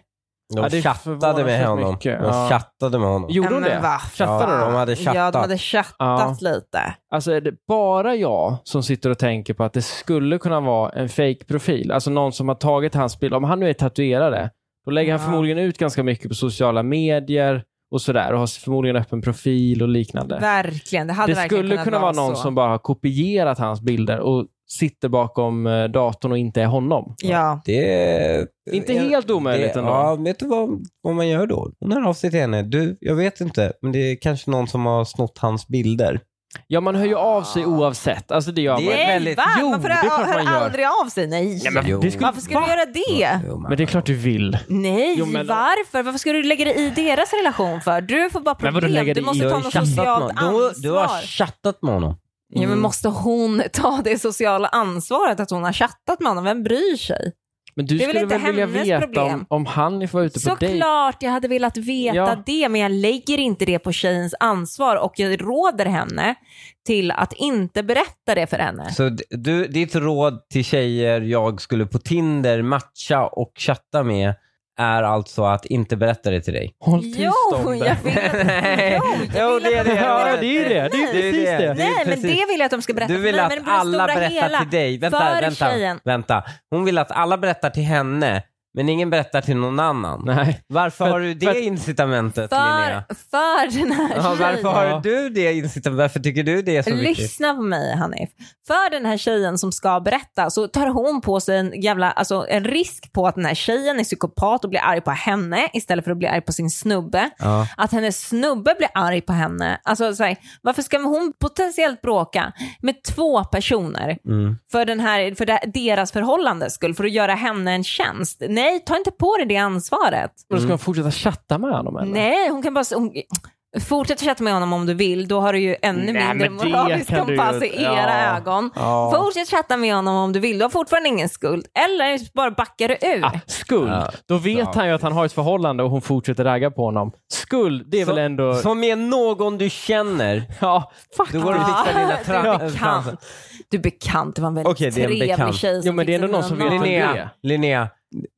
C: De
A: Ja, det
C: chattade med
A: förvånansvärt
C: honom.
A: mycket,
C: De
A: ja.
C: chattade med honom.
A: Gjorde hon
B: Nej, men
A: det?
B: vad
A: Chattade
B: fan.
C: de? hade
B: Ja,
C: chattat.
B: de hade chattat
A: Ja.
B: lite.
A: Alltså är det bara jag som sitter och tänker på att det skulle kunna vara en fake profil Alltså någon som har tagit hans bild. Om han nu är tatuerare, då lägger
B: Ja.
A: han förmodligen ut ganska mycket på sociala medier och sådär och har förmodligen öppen profil och liknande.
B: Verkligen, det hade
A: det
B: verkligen
A: skulle
B: kunnat
A: kunna vara någon
B: så.
A: som bara har kopierat hans bilder och sitter bakom eh, datorn och inte är honom.
B: Ja,
C: Det är...
A: Inte helt omöjligt
C: det,
A: ändå.
C: Ja, vet du vad, vad man gör då? Hon hör av sig till henne. Du, jag vet inte, men det är kanske någon som har snott hans bilder.
A: Ja, man hör ju av
B: Ah.
A: sig oavsett. Alltså det gör man.
C: Det är
B: nej,
C: väldigt-
B: va?
A: Jo,
B: man får
A: det är klart man gör.
B: aldrig av sig, nej.
A: Nej, men
C: Jo.
A: det skulle-
B: Varför ska
A: Va?
B: du göra det?
C: Jo, man-
A: Men det är klart du vill.
B: Nej,
A: Jo, men-
B: varför? Varför ska du lägga dig i deras relation för? Du får bara
A: Men vadå,
B: problem.
A: lägga
B: Du
A: dig i?
B: måste
C: Du
B: ta
C: har
B: något
C: chattat med
B: socialt
C: honom.
B: ansvar.
C: Du, du har chattat med honom.
B: Ja,
A: Mm.
B: men måste hon ta det sociala ansvaret att hon har chattat med honom? Vem bryr sig?
A: Men du
B: Det är väl
A: skulle
B: inte
A: väl vilja
B: hennes
A: veta
B: problem.
A: om, om han får vara ute på dejt?
B: Såklart jag hade velat veta
A: Ja.
B: det, men jag lägger inte det på tjejens ansvar och jag råder henne till att inte berätta det för henne.
C: Så d- du, ditt råd till tjejer jag skulle på Tinder matcha och chatta med är alltså att inte berätta det till dig.
A: Håll tyst
B: Jo,
A: om det.
B: jag vill att... Jo, jag
C: Jo,
B: vill att-
C: det.
A: Ja, det är ju det. Det är
C: Nej.
A: ju precis det.
C: Det är
B: Nej, men
C: precis-
B: det vill jag att de ska berätta
C: Du
B: för
C: vill
B: mig,
C: att
B: men det blir det
C: alla
B: stora
C: berättar
B: hela.
C: till dig. Vänta,
B: för
C: vänta,
B: tjejen.
C: vänta. Hon vill att alla berättar till henne, men ingen berättar till någon annan.
A: Nej.
C: Varför
A: För-
C: har du det
A: för-
C: incitamentet, Linnea?
B: För, för den här
C: Ja, varför
B: tjejen.
C: har du det incitamentet? Varför tycker du det är så viktigt?
B: Lyssna på mig Hanif. För den här tjejen som ska berätta så tar hon på sig en jävla, alltså en risk på att den här tjejen är psykopat och blir arg på henne istället för att bli arg på sin snubbe.
C: Ja.
B: Att hennes snubbe blir arg på henne. Alltså så här, varför ska hon potentiellt bråka med två personer
C: Mm.
B: för, den här, för det, deras förhållandes skull, för att göra henne en tjänst? Nej, ta inte på dig det ansvaret.
A: Men
C: Mm.
A: ska hon fortsätta chatta med honom eller?
B: Nej, hon kan bara... Hon, fortsätt chatta med honom om du vill, då har du ju
A: Nej,
B: ännu mindre
A: men det
B: moralisk
A: kan du ju-
B: kompass i era
A: Ja.
B: ögon.
A: Ja.
B: Fortsätt chatta med honom om du vill, du har fortfarande ingen skuld. Eller bara backar du ur.
A: Ah, skuld.
C: Ja.
A: Då vet
C: Ja,
A: han ju att han har ett förhållande och hon fortsätter ragga på honom. Skuld, det är
C: Så-
A: väl ändå...
C: Som är någon du känner.
A: Ja,
C: Då går du och
B: Ah,
C: fixar dina
B: du är
C: tra-
B: bekant. Du är bekant, det var en väldigt
C: Okej, det är en
B: trevlig
C: bekant.
B: tjej som
A: Jo, men det är
B: fick
A: ändå någon
B: en
A: som
B: annan.
A: vet vem
C: Linnea,
A: det.
C: Linnea,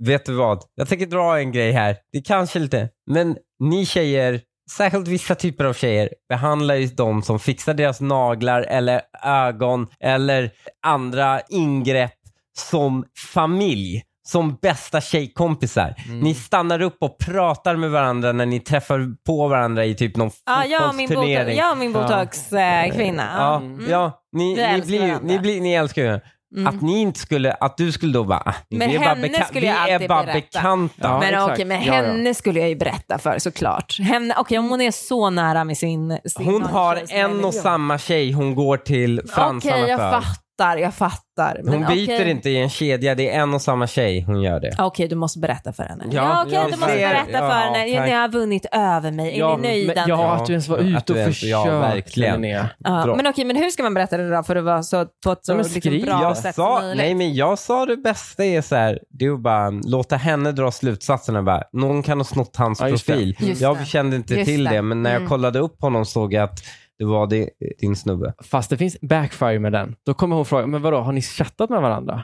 C: vet du vad? Jag tänker dra en grej här. Det kanske lite, men ni tjejer, särskilt vissa typer av tjejer, behandlar ju de som fixar deras naglar eller ögon eller andra ingrepp som familj. Som bästa tjejkompisar.
A: Mm.
C: Ni stannar upp och pratar med varandra när ni träffar på varandra i typ någon
B: Ja, Ah, jag och min, bot-
C: fotbollsturnering.
B: jag och min botox-kvinna.
C: Ja, ja ni,
B: Mm. Vi
C: ni,
B: älskar
C: blir,
B: varandra. Mm.
C: ni, blir, ni älskar ju Att ni inte skulle, att du skulle då bara, ah,
B: Men
C: vi är bara,
B: henne
C: beka-
B: skulle
C: vi
B: jag
C: är
B: alltid
C: bara
B: berätta.
C: bekanta.
A: Ja,
B: men
A: exakt.
B: okej, men
A: Ja, ja.
B: henne skulle jag ju berätta för såklart. Henne, okej, om hon är så nära med sin... sin
C: Hon har
B: tjej som jag
C: en
B: vill-
C: och samma tjej hon går till fransarna
B: Okej, jag
C: för.
B: fattar, jag fattar. Men
C: Hon byter
B: okej.
C: inte i en kedja, det är en och samma tjej hon gör det.
B: Okej, du måste berätta för henne. Ja,
C: Ja,
B: okej,
C: jag
B: du måste
C: ser-
B: berätta
C: ja,
B: för henne.
C: tack.
B: Ni har vunnit över mig.
A: Ja,
B: är ni nöjda
A: men, ja,
B: nu?
A: att du ens var
C: Ja, att
A: ute
C: du
A: och
C: ens-
A: försökte.
C: ja, verkligen.
A: Linnea.
B: Ja,
C: Bra.
B: men okej, men hur ska man berätta det då för att vara så, på ett så
A: Ja, men
B: liksom,
A: skriv.
B: bra
C: jag
B: sätt
C: sa,
B: som möjligt?
C: nej men jag sa det bästa är så här, det är att bara mm, låta henne dra slutsatserna bara, någon kan ha snott hans
A: Ja, just det.
C: profil.
B: Just
C: jag
B: det.
C: kände inte
B: Just
C: till
B: det.
C: det. men när
B: Mm.
C: jag kollade upp honom såg jag att det Det var det, din snubbe.
A: Fast det finns backfire med den. Då kommer hon fråga, men vadå, har ni chattat med varandra?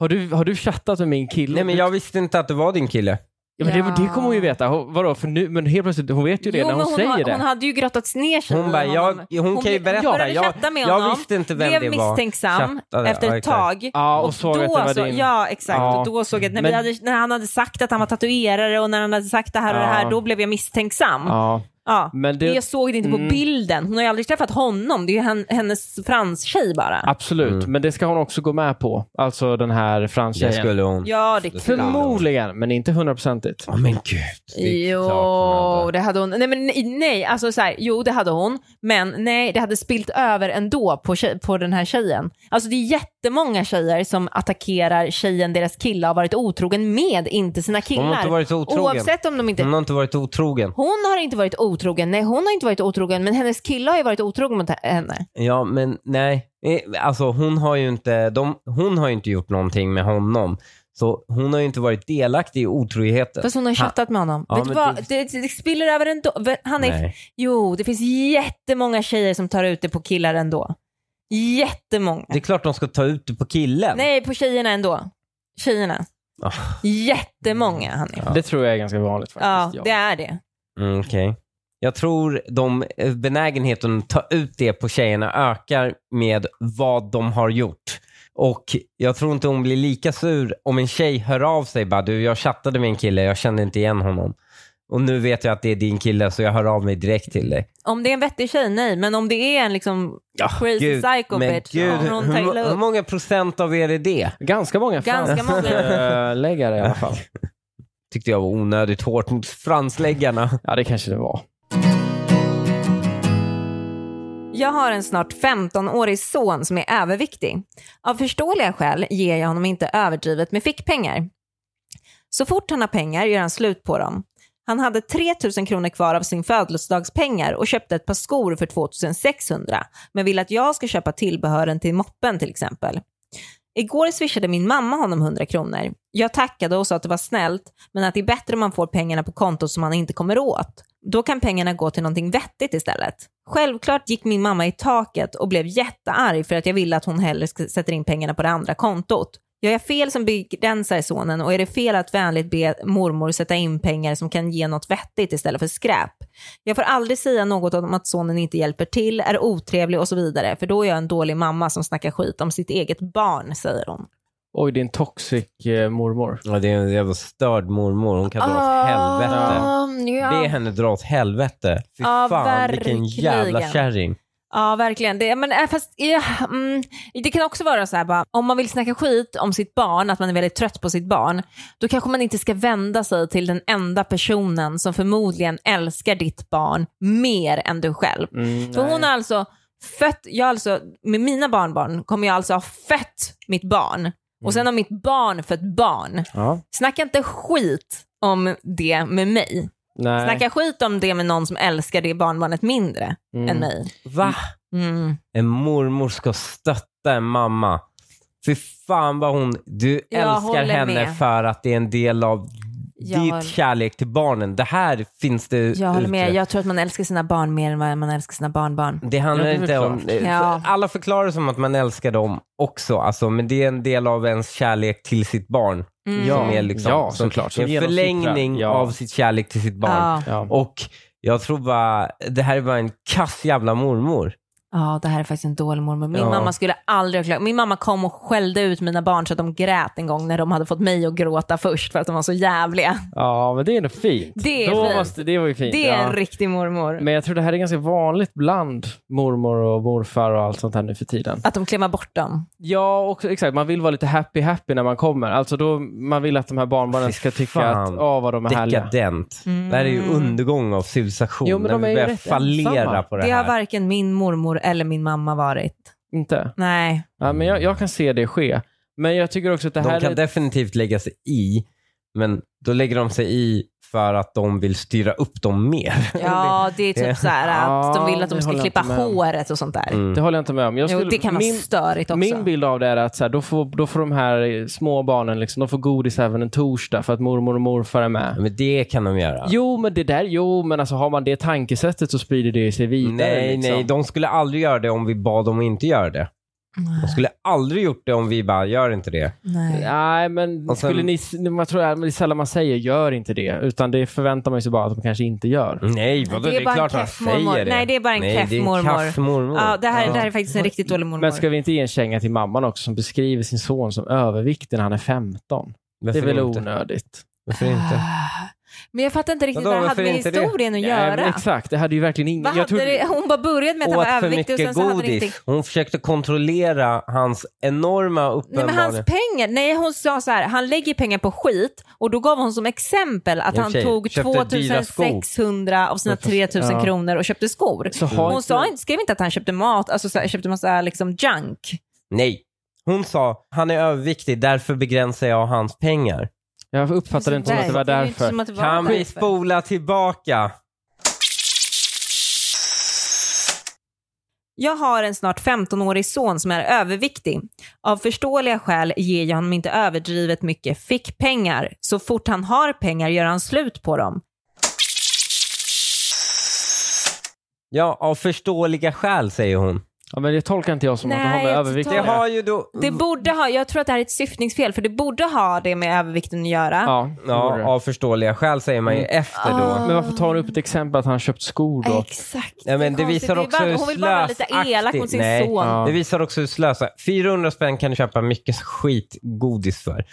A: Har du, har du chattat med min kille?
C: Nej, men jag visste inte att det var din kille.
A: ja, men det,
B: Ja.
A: det kommer hon ju veta. Hon, vadå, för nu, men helt plötsligt, hon vet ju det
B: Jo,
A: när hon,
B: men
A: säger
B: har,
A: det.
B: hon hade ju grottats ner sig
C: Hon
B: i
C: bara,
B: honom.
C: jag, hon, kan ju
B: blev-
C: berätta.
B: började
C: jag,
B: chatta med
C: jag
B: honom,
C: visste inte vem
B: blev
C: det var.
B: misstänksam
C: Chattade,
B: efter
C: ja,
B: ett
C: exakt.
B: tag.
A: Ja, och såg
B: då
A: att det var
B: så,
A: din.
B: Ja, exakt.
A: Ja.
B: Och då såg jag att när,
A: Men-
B: vi hade, när han hade sagt att han var tatuerare och när han hade sagt det här och det
A: Ja.
B: här, då blev jag misstänksam. Ja.
A: Ja, men
B: Men
A: det,
B: jag såg det inte
A: Mm.
B: på bilden. Hon har ju aldrig träffat honom. Det är ju hen, hennes franstjej bara.
A: absolut.
C: Mm.
A: Men det ska hon också gå med på. Alltså den här
C: Det
A: franstjejen.
C: skulle hon.
B: Ja, det är klart.
A: Förmodligen, men inte hundraprocentigt.
C: Åh, men gud. det är klart hon
B: Jo,
C: hade.
B: det hade hon. Nej, men nej, nej, alltså så här, jo det hade hon. Men nej, det hade spilt över ändå på, tjej, på den här tjejen. Alltså det är jättemånga tjejer som attackerar tjejen deras kille har varit otrogen med, inte sina killar.
C: Hon har inte varit otrogen. Mm.
B: Oavsett om de inte...
C: Hon har inte varit otrogen.
B: Hon har inte varit otrogen, nej hon har inte varit otrogen, men hennes kille har ju varit otrogen mot henne.
C: Ja, men nej. Eh, Alltså hon har ju inte, de, hon har ju inte gjort någonting med honom. Så hon har ju inte varit delaktig i otroheten.
B: Fast hon har ju
C: Ha-
B: chattat med honom.
C: Ja,
B: Vet du
C: men
B: vad?
C: det-
B: Det, det, spiller över ändå. Han är
C: Nej.
B: Jo, det finns jättemånga tjejer som tar ut det på killar ändå. Jättemånga.
C: Det är klart de ska ta ut det på killen.
B: Nej, på tjejerna ändå. Tjejerna.
C: Ah.
B: Jättemånga, Hanif.
A: Det tror jag är ganska vanligt
B: Ja,
A: faktiskt.
B: det är det.
C: Mm, Okej. Jag tror de eh, benägenheten att ta ut det på tjejerna ökar med vad de har gjort. Och jag tror inte hon blir lika sur om en tjej hör av sig bara du jag chattade med en kille, jag kände inte igen honom. Och nu vet jag att det är din kille så jag hör av mig direkt till dig.
B: Om det är en vettig tjej, nej. Men om det är en liksom crazy psycho
C: men
B: bitch,
C: gud,
B: då kommer hon ta
C: hur,
B: illa
C: hur
B: upp.
C: många procent av er är det?
A: Ganska många
B: Ganska många.
A: fransläggare i alla fall.
C: Tyckte jag var onödigt hårt mot fransläggarna.
A: Ja, det kanske det var.
B: Jag har en snart 15-årig son som är överviktig. Av förståeliga skäl ger jag honom inte överdrivet med fickpengar. Så fort han har pengar gör han slut på dem. Han hade 3 000 kronor kvar av sin födelsedagspengar och köpte ett par skor för 2 600 men vill att jag ska köpa tillbehören till moppen till exempel. Igår swishade min mamma honom 100 kronor. Jag tackade och sa att det var snällt, men att det är bättre om man får pengarna på kontot som man inte kommer åt. Då kan pengarna gå till någonting vettigt istället. Självklart gick min mamma i taket och blev jättearg för att jag ville att hon hellre sk- sätter in pengarna på det andra kontot. Gör jag fel som begränsar sonen och är det fel att vänligt be mormor sätta in pengar som kan ge något vettigt istället för skräp? Jag får aldrig säga något om att sonen inte hjälper till, är otrevlig och så vidare, för då är jag en dålig mamma som snackar skit om sitt eget barn, säger hon.
A: Oj, din toxic eh, mormor.
C: Ja, det är en jävla störd mormor. Hon kan dra
B: Ah.
C: åt helvete.
B: Ja.
C: Be henne dra åt helvete. Fy
B: Ja,
C: fan vilken
B: verkligen.
C: jävla kärring.
B: Ja, verkligen. Det, men, eh, fast, ja, mm, det kan också vara så här, bara, om man vill snacka skit om sitt barn, att man är väldigt trött på sitt barn, då kanske man inte ska vända sig till den enda personen som förmodligen älskar ditt barn mer än du själv.
A: Mm,
B: För
A: nej.
B: hon har alltså fött, jag har alltså, med mina barnbarn kommer jag alltså ha fött mitt barn och
A: Mm.
B: sen har mitt barn fött barn.
A: ja.
B: Snacka inte skit om det med mig.
A: Nej.
B: Snacka skit om det med någon som älskar det barnbarnet mindre
A: Mm.
B: än mig.
C: Va?
B: Mm.
C: En mormor ska stötta en mamma. Fy fan vad hon... Du
B: Jag
C: älskar
B: håller
C: henne
B: med.
C: för att det är en del av
B: Jag
C: ditt
B: håller-
C: kärlek till barnen. Det här finns det
B: Jag håller med.
C: utrett.
B: Jag tror att man älskar sina barn mer än vad man älskar sina barnbarn.
C: Det handlar
A: Ja, det är
C: inte
A: väl
C: om...
A: klart.
B: Ja.
C: Alla förklarar det som att man älskar dem också, alltså, men det är en del av ens kärlek till sitt barn. Som är liksom,
A: Mm. Ja,
C: som-
A: såklart. Som
C: En
A: genomsittrar.
C: förlängning
A: Ja.
C: av sitt kärlek till sitt barn.
B: Ja.
A: Ja.
C: Och jag tror bara, det här är bara en kass jävla mormor.
B: ja, det här är faktiskt en dålig mormor. Min
C: Ja.
B: mamma skulle aldrig ha klarat. Min mamma kom och skällde ut mina barn så att de grät en gång när de hade fått mig att gråta först för att de var så jävliga.
A: ja, men det är ändå fint.
B: Det är
A: Då
B: fint.
A: Måste, det var ju fint.
B: Det är
A: ja.
B: en riktig mormor.
A: Men jag tror det här är ganska vanligt bland mormor och morfar och allt sånt här nu för tiden.
B: Att de klämmer bort dem.
A: Ja, också, exakt. Man vill vara lite happy-happy när man kommer. Alltså då, man vill att de här barnbarnen
C: Fy
A: ska tycka
C: fan.
A: att åh, vad de är härliga.
C: Dekadent. Mm. Det här är
B: Mm.
C: ju undergång av civilisation.
A: Jo, men
C: när
A: de är
C: vi
A: ju
C: börjar
A: rätt
C: fallera
A: ensamma.
C: på det,
B: Det har
C: här.
B: varken min mormor eller min mamma varit.
A: Inte?
B: Nej.
A: Ja, men jag, jag kan se det ske. Men jag tycker också att det här
C: de kan
A: är...
C: definitivt lägga sig i, Men då lägger de sig i för att de vill styra upp dem mer.
B: Ja, det är
C: det-
B: typ så här att
A: Ja,
B: de vill att
A: det
B: de ska
A: håller jag
B: klippa
A: inte med om.
B: håret och sånt där.
C: Mm.
A: Det håller jag inte med om. Jag
B: Jo,
A: skulle-
B: det kan vara
A: min,
B: störigt också.
A: min bild av det är att så här, då, får, då får de här eh, små barnen liksom, de får godis även en torsdag för att mormor och morfar är med.
C: Ja, Mm. Men det kan de göra.
A: Jo, men det där, jo, men alltså har man det tankesättet så sprider det sig vidare.
C: nej,
A: liksom.
C: nej, de skulle aldrig göra det om vi bad dem att inte göra det. De skulle aldrig gjort det om vi bara, gör inte det.
B: Nej.
A: Nej, men
C: Och sen-
A: skulle ni, man tror, det är sällan man säger gör inte det, utan det förväntar man sig bara att de kanske inte gör.
C: Nej, vadå?
B: Det är
C: Det är,
B: bara en
C: klart man
B: keff-mormor.
C: säger det.
B: Nej, det är bara en
C: Nej, det är
B: keff-mormor.
C: kaffmormor.
B: Ja, det, här, det här är faktiskt en riktigt dålig mormor.
A: Men ska vi inte ge en känga till mamman också som beskriver sin son som överviktig när han är 15?
C: Varför
A: det är väl
C: inte?
A: onödigt?
C: Varför inte?
B: Ah. Men jag fattar inte riktigt
C: Vadå,
B: vad det
C: varför
B: hade med
C: inte det? liksom,
B: historien att
A: Nej, men
B: göra.
A: exakt, det hade ju verkligen ingen...
B: Vad hade det, hon bara började med att han var
C: Åt för
B: överviktig och sen
C: mycket
B: så hade det inte...
C: godis. Hon försökte kontrollera hans enorma
B: Nej men
C: uppenbarligen...
B: hans pengar, nej hon sa så här, han lägger pengar på skit och då gav hon som exempel att
C: I och
B: han
C: för sig,
B: tog
C: köpte dyra skor.
B: 2600 av sina 3000
A: Ja.
B: kronor och köpte skor.
A: Så har
B: Hon
A: inte-
B: sa, inte- skrev inte att han köpte mat, alltså så här, köpte massa liksom junk.
C: Nej. Hon sa, han är överviktig, därför begränsar jag hans pengar.
A: Jag uppfattade inte som att det var
B: Alltså, Det är ju inte
A: därför.
B: som att det var
C: Kan vi
B: därför.
C: spola tillbaka?
B: Jag har en snart 15-årig son som är överviktig. Av förståeliga skäl ger jag honom inte överdrivet mycket fickpengar. Så fort han har pengar gör han slut på dem.
C: Ja, av förståeliga skäl säger hon.
A: Ja, men det tolkar inte jag som att de har
B: Nej,
A: med
B: jag
A: övervikt
C: Det
B: Ja.
C: har ju då...
B: Det borde ha, jag tror att det här är ett syftningsfel, för det borde ha det med övervikten att göra.
A: Ja,
C: Ja,
A: ja.
C: av förståeliga skäl säger man ju efter
B: Ah.
C: då.
A: Men varför tar hon upp ett exempel att han har köpt skor då?
B: Exakt.
C: Ja, men
B: är
C: det visar
B: konstigt.
C: också
B: är bara-
C: hur
B: Hon vill bara vara lite elak mot sin
C: Nej.
B: son.
A: Ja.
C: Det visar också hur slösa. 400 spänn kan du köpa mycket skitgodis för.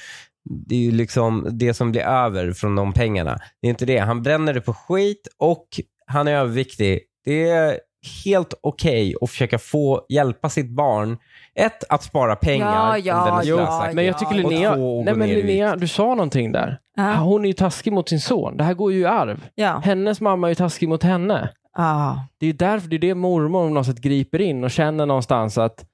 C: Det är ju liksom det som blir över från de pengarna. Det är inte det. Han bränner det på skit och han är överviktig. Det är helt okej att försöka få hjälpa sitt barn. Ett, att spara pengar.
B: Ja,
C: om
B: ja,
C: den är
A: Jo,
C: slösaktig.
A: men jag tycker
B: Ja,
A: Linnea,
C: Och två och
A: nej,
C: gå
A: men
C: ner i
A: Linnea, du sa någonting där. Ah,
B: Ja.
A: Hon är ju taskig mot sin son. Det här går ju i arv.
B: Ja.
A: Hennes mamma är ju taskig mot henne.
B: Ja.
A: Det är ju därför det är det mormor om något sätt griper in och känner någonstans att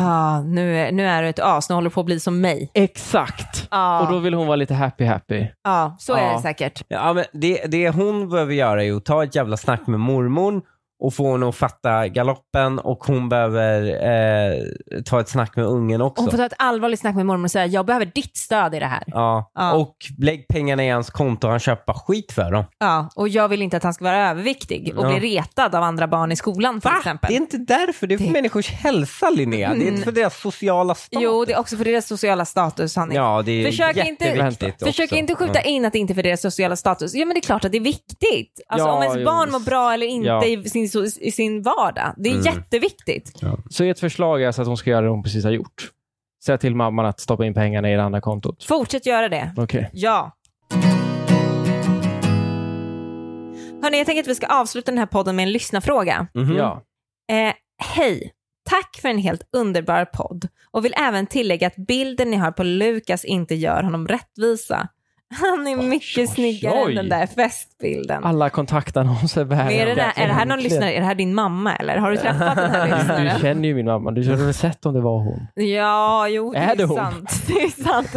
B: Ja. Nu, är, nu är du ett as, nu håller du på att bli som mig.
A: exakt.
B: Ja,
A: Och då vill hon vara lite happy happy.
B: ja så är
A: Ja.
B: det säkert.
C: Ja, men det, det hon behöver göra är att ta ett jävla snack med mormor och få henne att fatta galoppen och hon behöver eh, ta ett snack med ungen också.
B: Hon får ta ett allvarligt snack med mormor och säga jag behöver ditt stöd i det här.
C: Ja.
B: Ja.
C: Och lägg pengarna i hans konto och han köper skit för dem.
B: Ja, och jag vill inte att han ska vara överviktig och
C: Ja.
B: bli retad av andra barn i skolan till exempel.
C: Det är inte därför, det är för människors hälsa Linnea. Det är inte för deras sociala status.
B: Jo, det är också för deras sociala status, Hanif.
C: Ja, det är
B: Försök inte-
C: jätteviktigt också.
B: Försök inte skjuta in att det inte är för deras sociala status. Ja men det är klart att det är viktigt. Alltså
A: Ja,
B: om ens
A: jo,
B: barn
A: visst.
B: mår bra eller inte
A: Ja.
B: i, sin, so- i sin vardag. Det är jätteviktigt.
A: Så ett förslag är alltså att hon ska göra det hon precis har gjort. Säg till mamman att stoppa in pengarna i det andra kontot.
B: Fortsätt göra det.
A: Okej.
B: Ja. Hörni, jag tänker att vi ska avsluta den här podden med en lyssnarfråga.
C: Mhm.
A: Mm. Ja.
B: Eh, Hej! Tack för en helt underbar podd och vill även tillägga att bilden ni har på Lukas inte gör honom rättvisa. Han är mycket
A: oj,
B: snyggare
A: oj.
B: än den där festbilden.
A: Alla kontaktannonser
B: Men
A: bär
B: är, det där, är det här någon lyssnare? Är det här din mamma eller? Har du träffat den här
A: Du, du
B: lyssnaren?
A: känner ju min mamma. Du hade väl sett om det var hon?
B: Ja, jo det är,
A: Är det hon?
B: sant. Det är sant.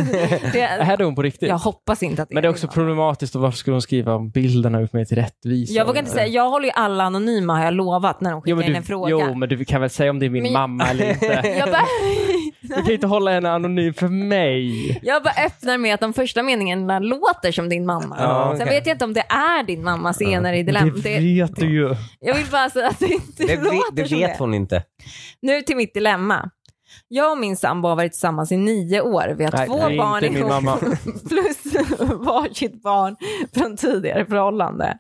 B: Det,
A: Är det hon på riktigt?
B: jag hoppas inte att det
A: Men det är
B: din
A: också
B: mamma.
A: problematiskt. Och varför skulle hon skriva om bilden har gjort mig till rättvisa?
B: Jag vågar inte säga, jag håller ju alla anonyma har jag lovat när de skickar
A: Jo men,
B: in en
A: du,
B: fråga.
A: jo, men du kan väl säga om det är min
B: Men-
A: mamma eller inte?
B: Jag, bara,
A: Du kan ju inte hålla henne anonym för mig.
B: jag bara öppnar med att de första meningarna låter som din mamma.
C: Ja,
B: Sen
C: okej.
B: vet jag inte om det är din mamma senare i dilemma.
A: Det
B: Det,
A: vet du ju.
B: jag vill bara säga att det inte
C: Det,
B: låter
C: vet- det
B: som
C: vet hon inte.
B: Nu till mitt dilemma. Jag och min sambo har varit tillsammans i nio år. Vi har
A: Nej,
B: två
A: det är
B: barn
A: inte min mamma.
B: plus varsitt barn från tidigare förhållande.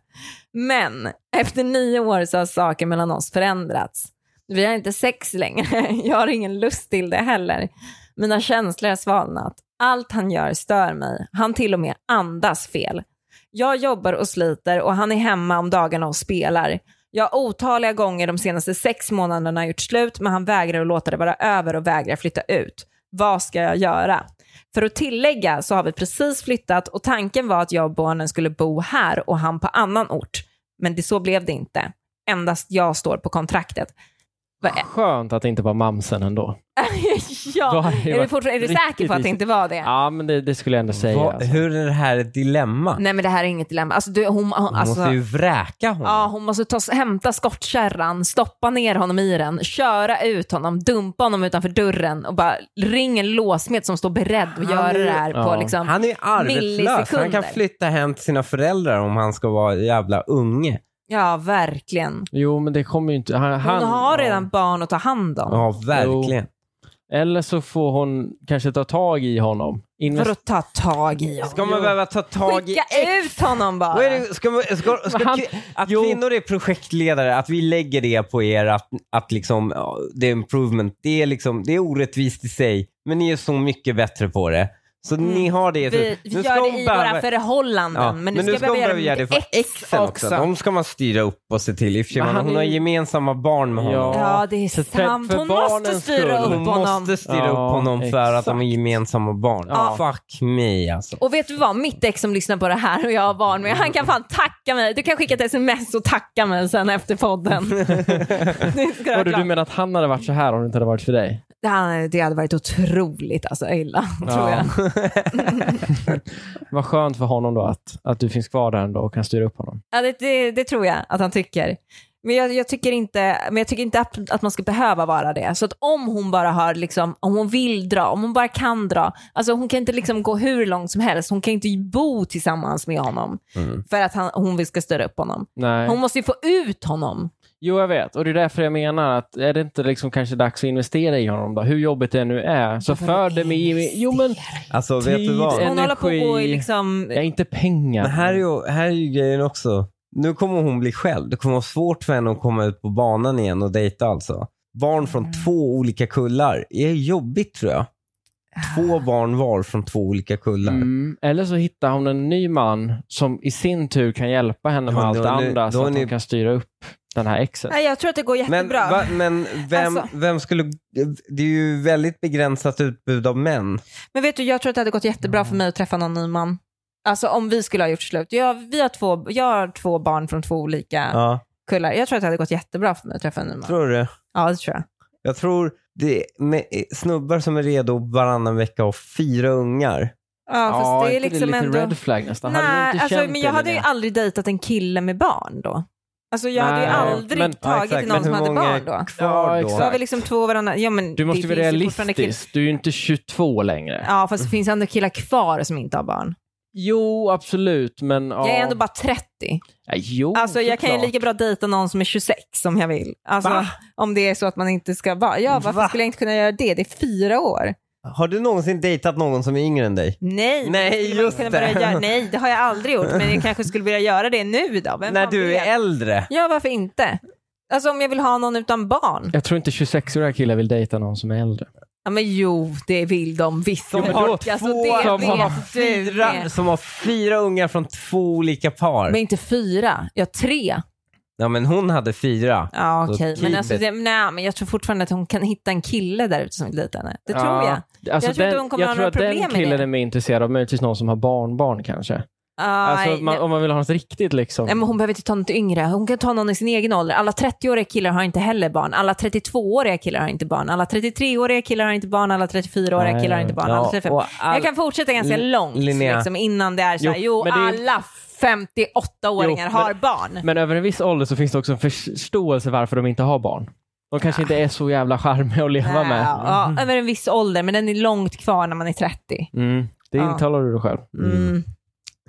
B: Men efter nio år så har saker mellan oss förändrats. Vi har inte sex längre. Jag har ingen lust till det heller. Mina känslor har svalnat. Allt han gör stör mig. Han till och med andas fel. Jag jobbar och sliter och han är hemma om dagarna och spelar. Jag har otaliga gånger de senaste sex månaderna gjort slut men han vägrar att låta det vara över och vägrar flytta ut. Vad ska jag göra? För att tillägga så har vi precis flyttat och tanken var att jag och barnen skulle bo här och han på annan ort. Men det, så blev det inte. Endast jag står på kontraktet. Vad är-
A: Skönt att det inte var mamsen ändå. Vad
B: ja,
A: har det
B: är du,
A: varit
B: fortfarande, är du säker på att
A: riktigt
B: det inte var det?
A: Ja, men det, det skulle jag ändå säga.
C: Va,
A: alltså.
C: hur är det här ett dilemma?
B: Nej men det här är inget dilemma. Alltså, du, hon, hon,
C: Hon
B: alltså,
C: måste ju vräka honom.
B: Ja, hon måste ta, hämta skottkärran, stoppa ner honom i den, köra ut honom, dumpa honom utanför dörren och bara ring en låsmed som står beredd att göra
C: är-
B: det här på
A: ja.
B: liksom...
C: Han är ju arbetslös. Han
B: millisekunder.
C: kan flytta hem till sina föräldrar om han ska vara jävla unge.
B: Ja, verkligen.
A: Jo, men det kommer ju inte... Han,
B: Hon
A: han,
B: har redan barn att ta hand om.
C: Ja, verkligen.
A: Eller så får hon kanske ta tag i honom. Invest-
B: För att ta tag i honom.
C: Ska man behöva ta tag i
B: Skicka ut honom bara.
C: Vad är det, ska, man- ska, ska,
A: Men han-
C: kvi- att
A: jo.
C: kvinnor är projektledare, att vi lägger det på er, att, att liksom, ja, det är improvement, det är, liksom, det är orättvist i sig, men ni är så mycket bättre på det. Så ni har det.
B: Mm. Vi, vi
C: Nu
B: gör det
C: hon
B: i
C: behöva-
B: våra förhållanden,
C: Ja,
B: men du ska, behöva göra det, med
C: för
B: ex
C: exen också. De ska man styra upp och se till. I och för sig,
A: Men
C: man-
A: han
C: hon
A: är
C: har
A: ju-
C: gemensamma barn med honom.
B: Ja, det är
A: Så för-
B: sant.
A: för
B: Hon måste
A: barnens
B: styra
A: skull.
B: upp
C: Hon
B: honom.
C: måste styra
A: Ja,
C: upp honom för att de är
A: exakt.
C: gemensamma barn.
B: Ja.
C: Fuck me alltså.
B: Och vet du vad, mitt ex som lyssnar på det här och jag har barn med, han kan fan tacka mig. Du kan skicka ett sms och tacka mig sen efter podden. det, ska
A: Hörru,
B: du,
A: du menar att han hade varit så här om det inte hade varit för dig?
B: det, hade, det hade varit otroligt alltså, illa, tror jag.
A: Vad skönt för honom då att, att du finns kvar där ändå och kan styra upp honom.
B: Ja, det, det, det tror jag att han tycker. Men jag, jag tycker inte, men jag tycker inte att, att man ska behöva vara det. Så att om hon bara har, liksom, om hon vill dra, om hon bara kan dra. Alltså hon kan inte liksom gå hur långt som helst. Hon kan inte bo tillsammans med honom för att han, hon vill ska störa upp honom.
A: Nej.
B: Hon måste ju få ut honom.
A: Jo, jag vet. Och det är därför jag menar att är det inte liksom kanske dags att investera i honom då? Hur jobbigt det nu är. Så för det med... Jo, men...
C: Alltså vet du vad?
A: Tid,
B: Hon håller på
A: Energi.
B: och liksom...
A: Ja, inte pengar.
C: Men här är, ju, här är ju grejen också. Nu kommer hon bli själv. Det kommer vara svårt för henne att komma ut på banan igen och dejta alltså. Barn från
B: Mm.
C: två olika kullar är jobbigt tror jag. Två
B: Ah.
C: barn var från två olika kullar.
A: Mm. Eller så hittar hon en ny man som i sin tur kan hjälpa henne
C: Ja,
A: med allt
C: då
A: det
C: är ni-
A: andra
C: då
A: så
C: är
A: att
C: ni-
A: hon kan styra upp den här exet.
B: Nej, jag tror att det går
C: Men,
B: jättebra.
C: va, men vem,
B: Alltså.
C: vem skulle... Det är ju väldigt begränsat utbud av män.
B: Men vet du, jag tror att det hade gått jättebra
A: Mm.
B: för mig att träffa någon ny man. Alltså om vi skulle ha gjort slut. Jag, vi har två, jag har två barn från två olika
C: Ja,
B: kullar. Jag tror att det hade gått jättebra för mig att träffa en ny man.
C: tror du?
B: Ja, det tror jag.
C: Jag tror det med snubbar som är redo varannan vecka och fyra ungar.
B: Ja, fast det är
A: inte
B: liksom
A: lite
B: ändå...
A: red flag nästan. Hade du
B: Nej,
A: inte
B: alltså,
A: känt
B: men jag
A: det,
B: hade ju
A: Linnea?
B: aldrig dejtat en kille med barn då. Alltså jag hade ju
A: Nej,
B: aldrig
A: men- ja,
B: tagit
C: exakt.
B: någon
C: Men
B: som
C: hur
B: hade
C: många
B: barn
C: är
B: då.
C: Kvar
A: Ja,
C: då.
B: Så har vi liksom två varandra. Ja, men
A: Du måste
B: det
A: vara
B: finns ju liksom fortfarande kill-
A: realistisk. Du är ju inte 22 längre.
B: Ja, fast det finns ändå killar kvar som inte har barn.
A: Jo, absolut, men... Ja.
B: Jag är ändå bara 30.
A: Ja, jo,
B: Alltså jag kan ju
A: såklart.
B: lika bra dejta någon som är 26 om jag vill. Alltså,
C: Va?
B: om det är så att man inte ska vara. Ja, varför
C: Va?
B: skulle jag inte kunna göra det? Det är fyra år.
C: Har du någonsin dejtat någon som är yngre än dig?
B: Nej, men
C: Nej,
B: skulle man
C: just
B: kunna
C: det.
B: börja göra, nej, det har jag aldrig gjort, men jag kanske skulle vilja göra det nu då. Vem
C: När
B: fan
C: du
B: vet?
C: är äldre?
B: Ja, varför inte? Alltså om jag vill ha någon utan barn.
A: Jag tror inte 26-åriga killar vill dejta någon som är äldre.
B: Ja, men jo, det vill de visst.
C: Som
B: Folk,
C: har
B: alltså,
C: två-
B: det
A: som
B: vet
A: har
B: du
C: fyra,
B: med.
C: som har fyra ungar från två olika par.
B: Men inte fyra, ja tre.
C: ja, men hon hade fyra.
B: Ja
C: Så
B: okej, men,
C: keep
B: alltså,
C: it.
B: det, nej, men jag tror fortfarande att hon kan hitta en kille där ute som vill dejta henne. Det tror jag.
A: Alltså
B: Jag tror inte
A: den-
B: hon kommer
A: jag
B: ha
A: tror
B: några
A: att den
B: problem med
A: killen
B: det.
A: är mer intresserad av möjligtvis någon som har barnbarn kanske.
B: Aj,
A: Alltså, man,
B: Ah, nej.
A: om man vill ha något riktigt liksom.
B: Nej, men hon behöver inte ta något yngre. Hon kan ta någon i sin egen ålder. Alla 30-åriga killar har inte heller barn. Alla 32-åriga killar har inte barn. Alla 33-åriga killar har inte barn. Alla 34-åriga
A: Nej,
B: killar har inte barn.
C: ja,
B: alla 35.
C: och all-
B: Jag kan fortsätta ganska
C: L-
B: långt
C: Linnea.
B: liksom, innan det är så här, jo,
A: Jo, men det är-
B: alla 58-åringar
A: Jo, men-
B: har barn.
A: Men över en viss ålder så finns det också en förståelse varför de inte har barn. De kanske inte är så jävla charmiga att leva med.
B: Ja, ja, över en viss ålder, men den är långt kvar när man är 30.
A: Mm. Det
B: Ja.
A: intalar du dig själv.
B: Mm.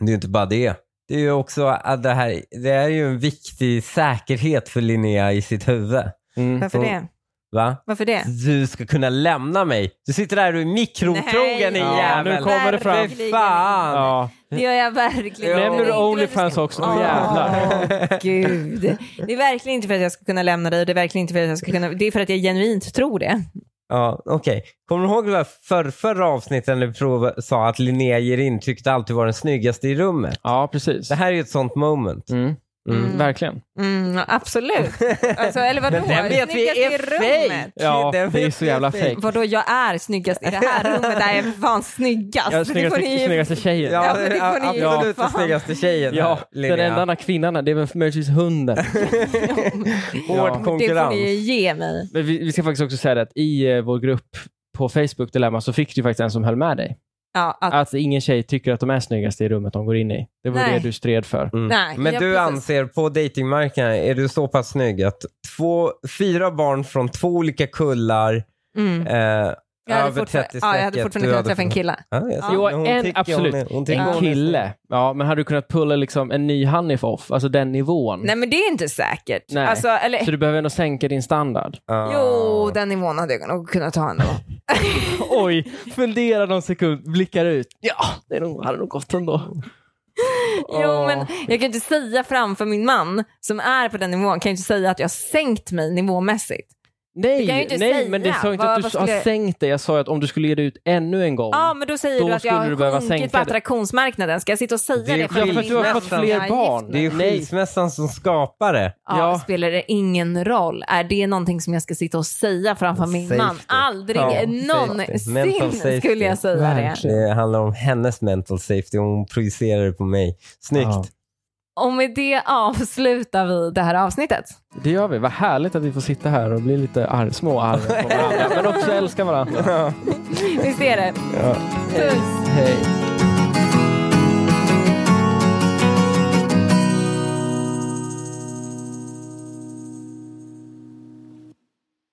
C: Det är ju inte bara det. Det är ju också att det här det är ju en viktig säkerhet för Linnea i sitt huvud.
A: Mm.
B: Varför
C: Så-
B: det?
C: Va?
B: Varför det?
C: Du ska kunna lämna mig. Du sitter där och är mikrotrogen din
A: Ja,
C: jävel.
A: nu kommer det fram.
C: Fy fan.
A: Ja.
B: Det gör jag verkligen.
A: Nämner
B: Det
A: du
B: är inte
A: Onlyfans
B: vad du
A: också?
B: ska-
A: Oh, jävlar.
B: Åh, Gud. Det är verkligen inte för att jag ska kunna lämna dig. Det är verkligen inte för att jag ska kunna... Det är för att jag genuint tror det.
C: Ja, okej. Kommer du ihåg det här för, förra avsnittet när du prov, sa att Linnea ger intryck att alltid vara den snyggaste i rummet?
A: ja, precis.
C: Det här är ju ett sånt moment.
A: Mm.
B: Mm.
A: Verkligen.
B: Mm, absolut. Alltså, eller vadå?
C: Men den vet vi
B: Snyggast i
C: är
B: rummet.
C: fake.
A: Ja,
C: Den
A: det är
C: vet
A: så
C: vi
A: jävla
C: fake.
A: fake.
B: Vadå, jag är snyggast i det här rummet där jag är fan snyggast.
A: Jag är
B: det får
A: snyggaste,
B: ni ju
A: snyggaste tjejen.
B: Ja,
C: Ja,
B: men det får ni ju
C: absolut
B: fan.
C: den snyggaste tjejen.
A: Ja,
C: här,
A: den
C: Linnea.
A: enda andra kvinnan här, det är väl möjligtvis hunden.
C: Hård
A: Ja.
B: Det får
C: konkurrens.
B: ni ju ge mig.
A: Men vi, vi ska faktiskt också säga det att i eh, vår grupp på Facebook Dilemma så fick du ju faktiskt en som höll med dig.
B: Ja, att,
A: Att ingen tjej tycker att de är snyggast i rummet de går in i. Det var
B: Nej.
A: det du stred för.
C: Mm.
B: Nej,
C: Men
B: ja,
C: du
B: precis.
C: anser på datingmarknaden är du så pass snygg att två, fyra barn från två olika kullar
B: mm.
C: eh,
B: jag, hade
C: över
B: fortfarande,
C: 30
B: ja, jag hade fortfarande kunnat träffa en kille.
C: Ja, jag ser.
A: Jo,
C: Men hon
A: en-
C: tycker
A: absolut.
C: Hon, hon tycker
A: En
C: hon är
A: kille. Ja, men hade du kunnat pulla liksom en ny Hanif off? Alltså den nivån.
B: Nej, men det är inte säkert.
A: Nej.
B: Alltså, eller,
A: Så du behöver ändå sänka din standard.
C: Ah.
B: Jo, den nivån hade jag nog kunnat ta ändå.
A: Oj, fundera någon sekund, blickar ut. Ja, det är nog, hade nog gått ändå.
B: Jo,
A: Åh.
B: men jag kan ju inte säga framför min man som är på den nivån, kan jag ju inte säga att jag har sänkt mig nivåmässigt.
A: Nej,
B: kan jag ju inte
A: nej
B: säga.
A: men det sa jag inte att
B: Vad-
A: du
B: vad
A: har
B: skulle jag-
A: sänkt dig. Jag sa ju att om du skulle ge dig ut ännu en gång.
B: Ja, men då säger
A: Då
B: du att jag
A: skulle du behöva
B: har sjunkit
A: sänka
B: på
A: det.
B: attraktionsmarknaden. Ska jag sitta och
C: Det
B: säga
C: är
B: det
C: ju
A: ja,
B: framför
A: för
B: min
A: att du har
B: man
A: fått
B: som
A: fler
B: är
A: barn.
B: gift
C: Det är ju
A: Nej.
C: skilsmässan som skapar det.
B: Ja,
A: Ja.
B: spelar det ingen roll. Är det någonting som jag ska sitta och säga framför min
C: Safety.
B: man? Aldrig
C: Ja, safety. Mental
B: någonsin
C: safety.
B: skulle jag säga det.
A: Verkligen.
C: Det handlar om hennes mental safety och hon projicerar det på mig. Snyggt.
A: Ja.
B: Och med det avslutar vi det här avsnittet.
A: Det gör vi. Vad härligt att vi får sitta här och bli lite ar- små arga på varandra. men också älska varandra.
B: Vi ser det.
C: Ja.
B: Puss!
A: Hej.